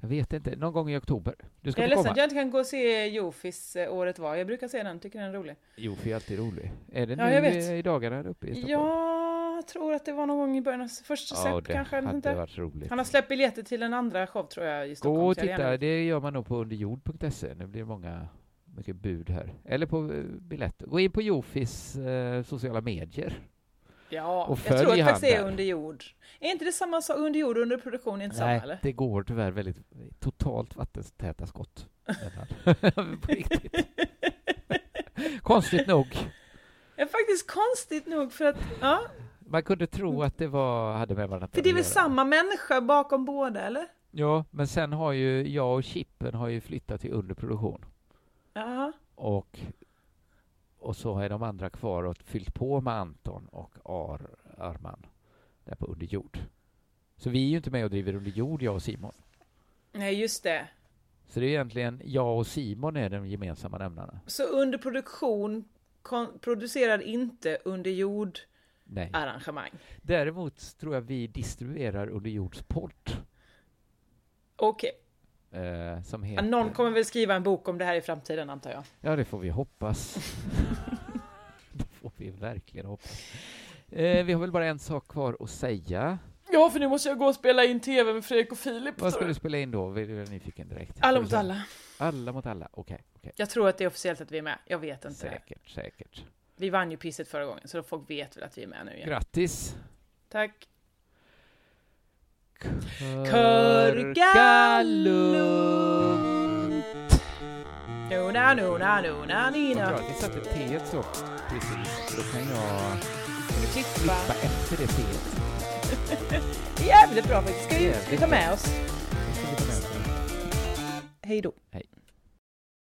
Speaker 3: Jag vet inte, någon gång i oktober. Du
Speaker 2: Jag
Speaker 3: ska
Speaker 2: är
Speaker 3: få
Speaker 2: ledsen att
Speaker 3: komma.
Speaker 2: jag inte kan gå och se Jofis eh, Året var. Jag brukar se den, tycker den är rolig.
Speaker 3: Jo, för jag är alltid rolig. Är det
Speaker 2: Ja,
Speaker 3: nu
Speaker 2: jag vet.
Speaker 3: i dagarna här uppe i Stockholm?
Speaker 2: Ja, jag tror att det var någon gång i början av första
Speaker 3: Ja,
Speaker 2: set
Speaker 3: det
Speaker 2: kanske. eller
Speaker 3: hade
Speaker 2: inte.
Speaker 3: varit roligt.
Speaker 2: Han har släppt biljetter till en andra show tror jag i Stockholm.
Speaker 3: Typ. Gå och
Speaker 2: så jag hade
Speaker 3: titta,
Speaker 2: gärna-
Speaker 3: det gör man nog på underjord.se. Nu blir det många, mycket bud här. Eller på eh, biljetter. Gå in på Jofis eh, sociala medier.
Speaker 2: Ja,
Speaker 3: och
Speaker 2: jag
Speaker 3: följ
Speaker 2: tror att det
Speaker 3: han
Speaker 2: faktiskt är
Speaker 3: där.
Speaker 2: under jord. Är inte det samma som under jord och under produktion? Är inte samma eller?
Speaker 3: det går tyvärr väldigt totalt vattentäta skott. mellan. på riktigt. Konstigt nog.
Speaker 2: Det är faktiskt konstigt nog för att, ja,
Speaker 3: Man kunde tro att det var, hade med varandra
Speaker 2: Mm. för det är
Speaker 3: att
Speaker 2: väl
Speaker 3: göra.
Speaker 2: samma människa bakom båda eller?
Speaker 3: Ja, men sen har ju jag och Chippen har ju flyttat till underproduktion
Speaker 2: Ja,
Speaker 3: och, och så är de andra kvar och fyllt på med Anton och Ar, Arman där på underjord. Så vi är ju inte med och driver underjord, jag och Simon.
Speaker 2: nej just det.
Speaker 3: Så det är egentligen jag och Simon är de gemensamma nämnarna.
Speaker 2: Så under produktion kon- producerar inte under jord
Speaker 3: Nej.
Speaker 2: Ah, arrangemang.
Speaker 3: Däremot tror jag vi distribuerar Under Jords podd.
Speaker 2: Okej,
Speaker 3: Eh, som
Speaker 2: Ja,
Speaker 3: heter...
Speaker 2: någon kommer väl skriva en bok om det här i framtiden antar jag.
Speaker 3: Ja, det får vi hoppas. det får vi verkligen hoppas. Eh, vi har väl bara en sak kvar att säga.
Speaker 2: Ja, för nu måste jag gå och spela in TV med Fredrik och Filip.
Speaker 3: Vad ska du spela in då? Vi är nyfiken direkt.
Speaker 2: Alla
Speaker 3: Ska
Speaker 2: mot
Speaker 3: du
Speaker 2: alla.
Speaker 3: säga- Alla mot alla, okej. okej.
Speaker 2: Jag tror att det är officiellt att vi är med. Jag vet inte det.
Speaker 3: Säkert, säkert.
Speaker 2: Vi vann ju pisset förra gången, så folk vet väl att vi är med nu igen.
Speaker 3: Grattis!
Speaker 2: Tack.
Speaker 3: Körka lugnt!
Speaker 2: Nuna, nuna, nuna,
Speaker 3: Vad bra
Speaker 2: nina.
Speaker 3: att ni satte T så. Precis, då kan jag
Speaker 2: Ska vi klippa?
Speaker 3: klippa efter det T.
Speaker 2: Jävligt bra faktiskt. Ska vi, ska vi ta med oss?
Speaker 3: Så vi tar med oss det.
Speaker 2: Hej då.
Speaker 3: Hej.